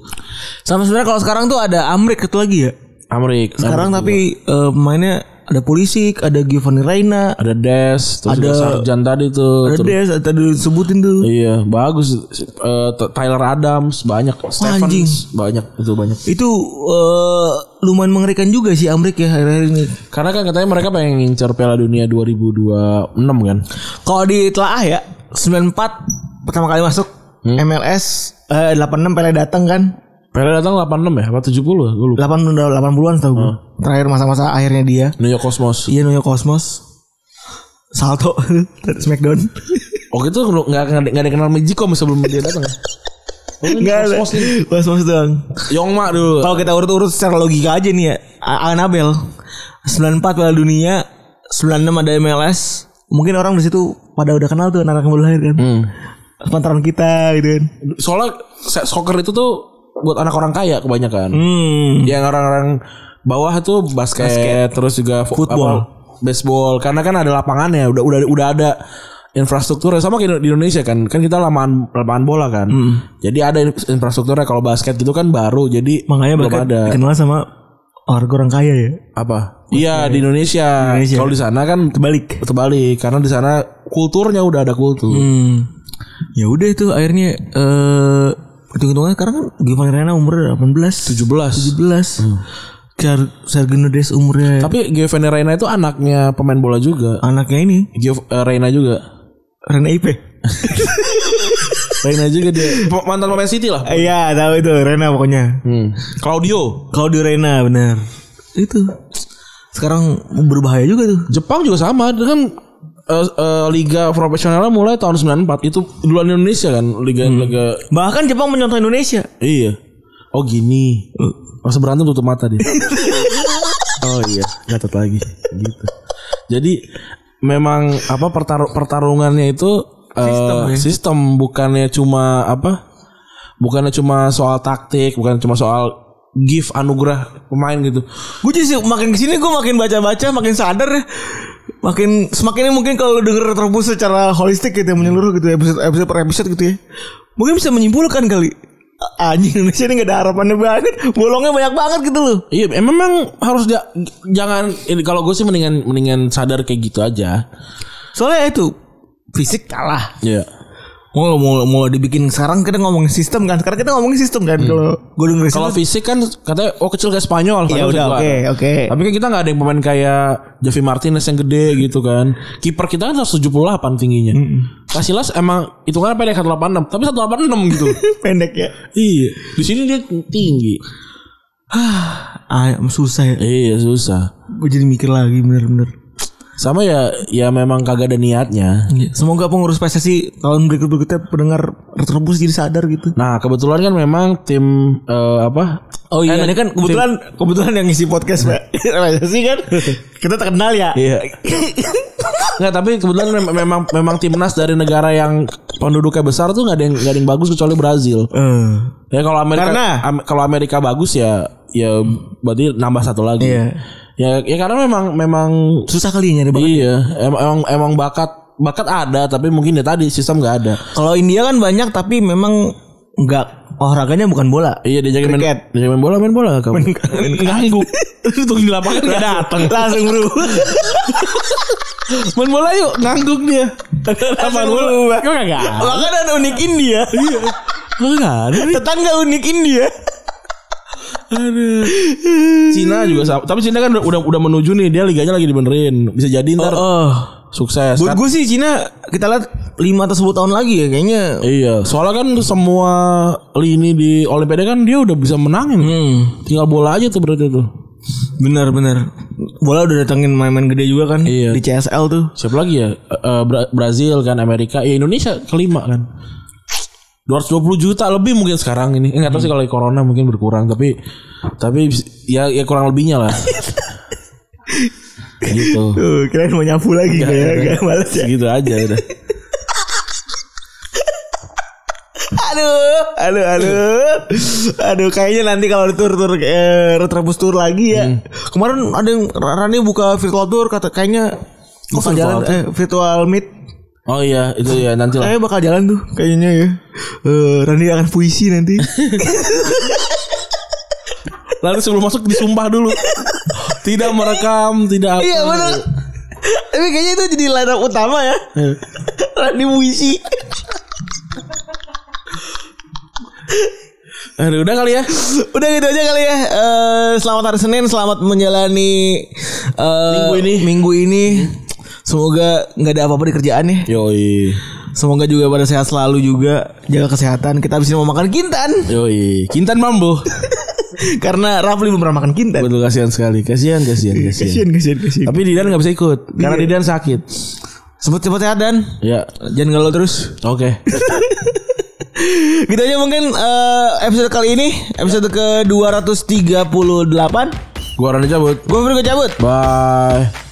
Speaker 2: Sama sebenarnya kalau sekarang tuh ada Amrik itu lagi ya.
Speaker 3: Amerik.
Speaker 2: Sekarang
Speaker 3: Amerik.
Speaker 2: tapi eh, pemainnya ada Pulisic, ada Giovanni Reina,
Speaker 3: ada Des, terus
Speaker 2: Ada-
Speaker 3: ada Sarjan tadi tuh.
Speaker 2: ada
Speaker 3: terus-
Speaker 2: Des, tadi disebutin tuh.
Speaker 3: Iya, bagus. Eh, T- Tyler Adams banyak, Stephens
Speaker 2: anjing.
Speaker 3: banyak itu banyak.
Speaker 2: Itu eh, lumayan mengerikan juga sih Amrik ya akhir-akhir ini.
Speaker 3: Karena kan katanya mereka pengen ngincer Piala Dunia 2026 kan.
Speaker 2: Kalau ditelaah ya 94 pertama kali masuk MLS eh, 86 Pele datang kan.
Speaker 3: Piala datang 86 ya, apa 70 gue lupa.
Speaker 2: 8 80-an tahu gue. Terakhir masa-masa akhirnya dia.
Speaker 3: New York Cosmos.
Speaker 2: Iya New York Cosmos Salto Smackdown
Speaker 3: Oke itu nggak nggak ada- nggak ada kenal Mejikom sebelum dia datang. kan?
Speaker 2: Enggak ada
Speaker 3: Cosmos nih.
Speaker 2: Cosmos doang
Speaker 3: Yongma dulu.
Speaker 2: Kalau kita urut-urut secara logika aja nih ya A- Anabel 94 Piala Dunia 96 ada MLS Mungkin orang di situ pada udah kenal tuh anak-anak yang baru lahir kan
Speaker 3: Hmm.
Speaker 2: Pantaran kita gitu kan
Speaker 3: Soalnya se- soccer itu tuh buat anak orang kaya kebanyakan.
Speaker 2: Hmm
Speaker 3: Iya, Yang orang-orang bawah tuh basket, terus juga fu-
Speaker 2: Football.
Speaker 3: apa, baseball karena kan ada lapangannya udah udah udah ada infrastrukturnya sama kayak di Indonesia kan kan kita lapangan lapangan bola kan
Speaker 2: Hmm.
Speaker 3: jadi ada in- infrastrukturnya kalau basket gitu kan baru jadi
Speaker 2: Makanya
Speaker 3: belum
Speaker 2: bahkan
Speaker 3: ada
Speaker 2: dikenal sama orang orang kaya ya
Speaker 3: apa iya di Indonesia,
Speaker 2: Indonesia.
Speaker 3: kalau di sana kan
Speaker 2: Kebalik
Speaker 3: terbalik karena di sana kulturnya udah ada kultur
Speaker 2: Hmm Ya udah itu akhirnya eh Hitung-hitungannya sekarang kan Giovanni Reina umurnya 18
Speaker 3: 17
Speaker 2: 17. Jar Sargeno Des umurnya
Speaker 3: tapi Giovanni Reina itu anaknya pemain bola juga
Speaker 2: anaknya ini
Speaker 3: Giov eh, Reina juga
Speaker 2: Rene IP.
Speaker 3: Reina juga dia Pe- mantan pemain City lah
Speaker 2: Iya, tahu itu Rena pokoknya.
Speaker 3: Hmm. Claudio
Speaker 2: Kalau di Rena benar. Itu. Sekarang berbahaya juga tuh.
Speaker 3: Jepang juga sama dia kan eh, eh, liga profesionalnya mulai tahun 94 itu duluan Indonesia kan liga liga
Speaker 2: Bahkan Jepang mencontoh Indonesia.
Speaker 3: iya oh gini masa berantem tutup mata dia Gitu. oh iya gatot lagi gitu jadi memang apa pertar- pertarungannya itu eh, sistem, bukannya cuma apa bukannya cuma soal taktik bukan cuma soal give anugerah pemain gitu
Speaker 2: Gue jadi sih makin kesini gue makin baca-baca, makin sadar ya. Makin semakin mungkin kalau lu denger terobos secara holistik gitu ya, menyeluruh gitu ya, episode, episode per episode gitu ya. Mungkin bisa menyimpulkan kali. Anjing Indonesia ini gak ada harapannya banget. Bolongnya banyak banget gitu loh.
Speaker 3: Iya, em- memang harus ja- jangan ini kalau gue sih mendingan mendingan sadar kayak gitu aja.
Speaker 2: Soalnya ya itu fisik kalah.
Speaker 3: Iya.
Speaker 2: Mau mau mau dibikin sekarang kita ngomongin sistem kan. Sekarang kita ngomongin sistem kan. Kalau gue denger
Speaker 3: Kalau fisik kan katanya oh kecil kayak
Speaker 2: ya
Speaker 3: Spanyol. Spanyol
Speaker 2: udah
Speaker 3: juga.
Speaker 2: oke oke.
Speaker 3: Tapi kan kita nggak ada yang pemain kayak Javi Martinez yang gede gitu kan. Kiper kita kan 178 tingginya. Casillas emang itu kan pendek 186, tapi 186 gitu.
Speaker 2: Pendek ya.
Speaker 3: iya. Di sini dia tinggi.
Speaker 2: Ah, ya, susah ya.
Speaker 3: Iya, susah.
Speaker 2: Gue jadi mikir lagi bener-bener.
Speaker 3: Sama ya ya memang kagak ada niatnya.
Speaker 2: Semoga pengurus PSSI tahun berikut-berikutnya pendengar terus jadi sadar gitu.
Speaker 3: Nah, kebetulan kan memang tim eh, apa?
Speaker 2: Oh
Speaker 3: iya.
Speaker 2: ini kan kebetulan kebetulan yang ngisi podcast Pak. PSSI kan kita terkenal ya.
Speaker 3: Iya. Nggak, tapi kebetulan mem- memang memang timnas dari negara yang penduduknya besar tuh nggak ada yang nggak ada yang bagus kecuali Brazil.
Speaker 2: Eh.
Speaker 3: Ya kalau Amerika
Speaker 2: Karena-
Speaker 3: Am- kalau Amerika bagus ya ya berarti nambah satu lagi.
Speaker 2: Iya.
Speaker 3: Ya ya karena memang memang
Speaker 2: Susah kali ya nyari banget.
Speaker 3: iya em- emang emang bakat bakat ada tapi mungkin ya tadi sistem nggak ada.
Speaker 2: Kalau India kan banyak tapi memang nggak olahraganya bukan bola.
Speaker 3: Iya diajakin main,
Speaker 2: Kriket.
Speaker 3: diajakin main bola main bola nggak kamu. Ngangguk. Itu di lapangan nggak datang.
Speaker 2: Langsung bro.
Speaker 3: Main bola yuk ngangguk dia. Lapangan bola. Kok nggak? ada?
Speaker 2: Makanan unik India.
Speaker 3: Kok nggak ada?
Speaker 2: Tetangga unik India.
Speaker 3: Cina juga sama. Tapi Cina kan udah- udah udah menuju nih dia liganya lagi dibenerin. Bisa jadi ntar
Speaker 2: Oh,
Speaker 3: sukses.
Speaker 2: Buat
Speaker 3: Kan-
Speaker 2: gue sih Cina kita lihat 5 atau 10 tahun lagi ya kayaknya.
Speaker 3: Iya, soalnya kan semua lini di Olimpiade kan dia udah bisa menangin.
Speaker 2: Hmm,
Speaker 3: Tinggal bola aja tuh berarti tuh.
Speaker 2: benar benar. Bola udah datengin main-main gede juga kan
Speaker 3: Iya.
Speaker 2: di CSL tuh.
Speaker 3: Siapa lagi ya? Eh, eh, Bra- Brazil kan, Amerika, ya Indonesia kelima kan. 220 juta lebih mungkin sekarang ini. Enggak tahu sih kalau corona mungkin berkurang, tapi tapi ya ya kurang lebihnya lah. gitu.
Speaker 2: Tuh, kirain mau nyapu lagi kayak gak males ya.
Speaker 3: Gitu aja udah.
Speaker 2: Aduh, aduh, aduh. Aduh, kayaknya nanti kalau tur-tur eh, retrobus tour lagi ya. Kemarin ada yang Rani buka virtual tour kata kayaknya kok bakal
Speaker 3: virtual
Speaker 2: jalan
Speaker 3: tour?
Speaker 2: eh, virtual meet
Speaker 3: Oh iya, itu ya nanti lah.
Speaker 2: kayaknya bakal jalan tuh kayaknya ya. Eh, Rani akan puisi nanti.
Speaker 3: Lalu sebelum masuk disumpah dulu. Tidak merekam, tidak apa.
Speaker 2: Iya benar. Tapi kayaknya itu jadi line up utama ya. Rani puisi.
Speaker 3: Aduh, udah kali ya.
Speaker 2: Udah gitu aja kali ya. Eh, selamat hari Senin, selamat menjalani eh,
Speaker 3: Minggu ini.
Speaker 2: Minggu ini. Semoga nggak ada apa-apa di kerjaan ya.
Speaker 3: Yoi.
Speaker 2: Semoga juga pada sehat selalu juga. Jaga kesehatan. Kita habis ini mau makan kintan.
Speaker 3: Yoi. Kintan mambo.
Speaker 2: Karena Rafli belum pernah makan kintan.
Speaker 3: Betul kasihan sekali. Kasihan, kasihan, kasihan.
Speaker 2: Kasian, kasian, kasian.
Speaker 3: Tapi Didan nggak bisa ikut karena
Speaker 2: Iya.
Speaker 3: Didan sakit.
Speaker 2: Sebut-sebut sehat dan
Speaker 3: Ya.
Speaker 2: jangan galau terus.
Speaker 3: Oke.
Speaker 2: Gitu aja mungkin eh, episode kali ini, episode ke 238.
Speaker 3: Gua Rani cabut.
Speaker 2: Gue Febri gue cabut.
Speaker 3: Bye.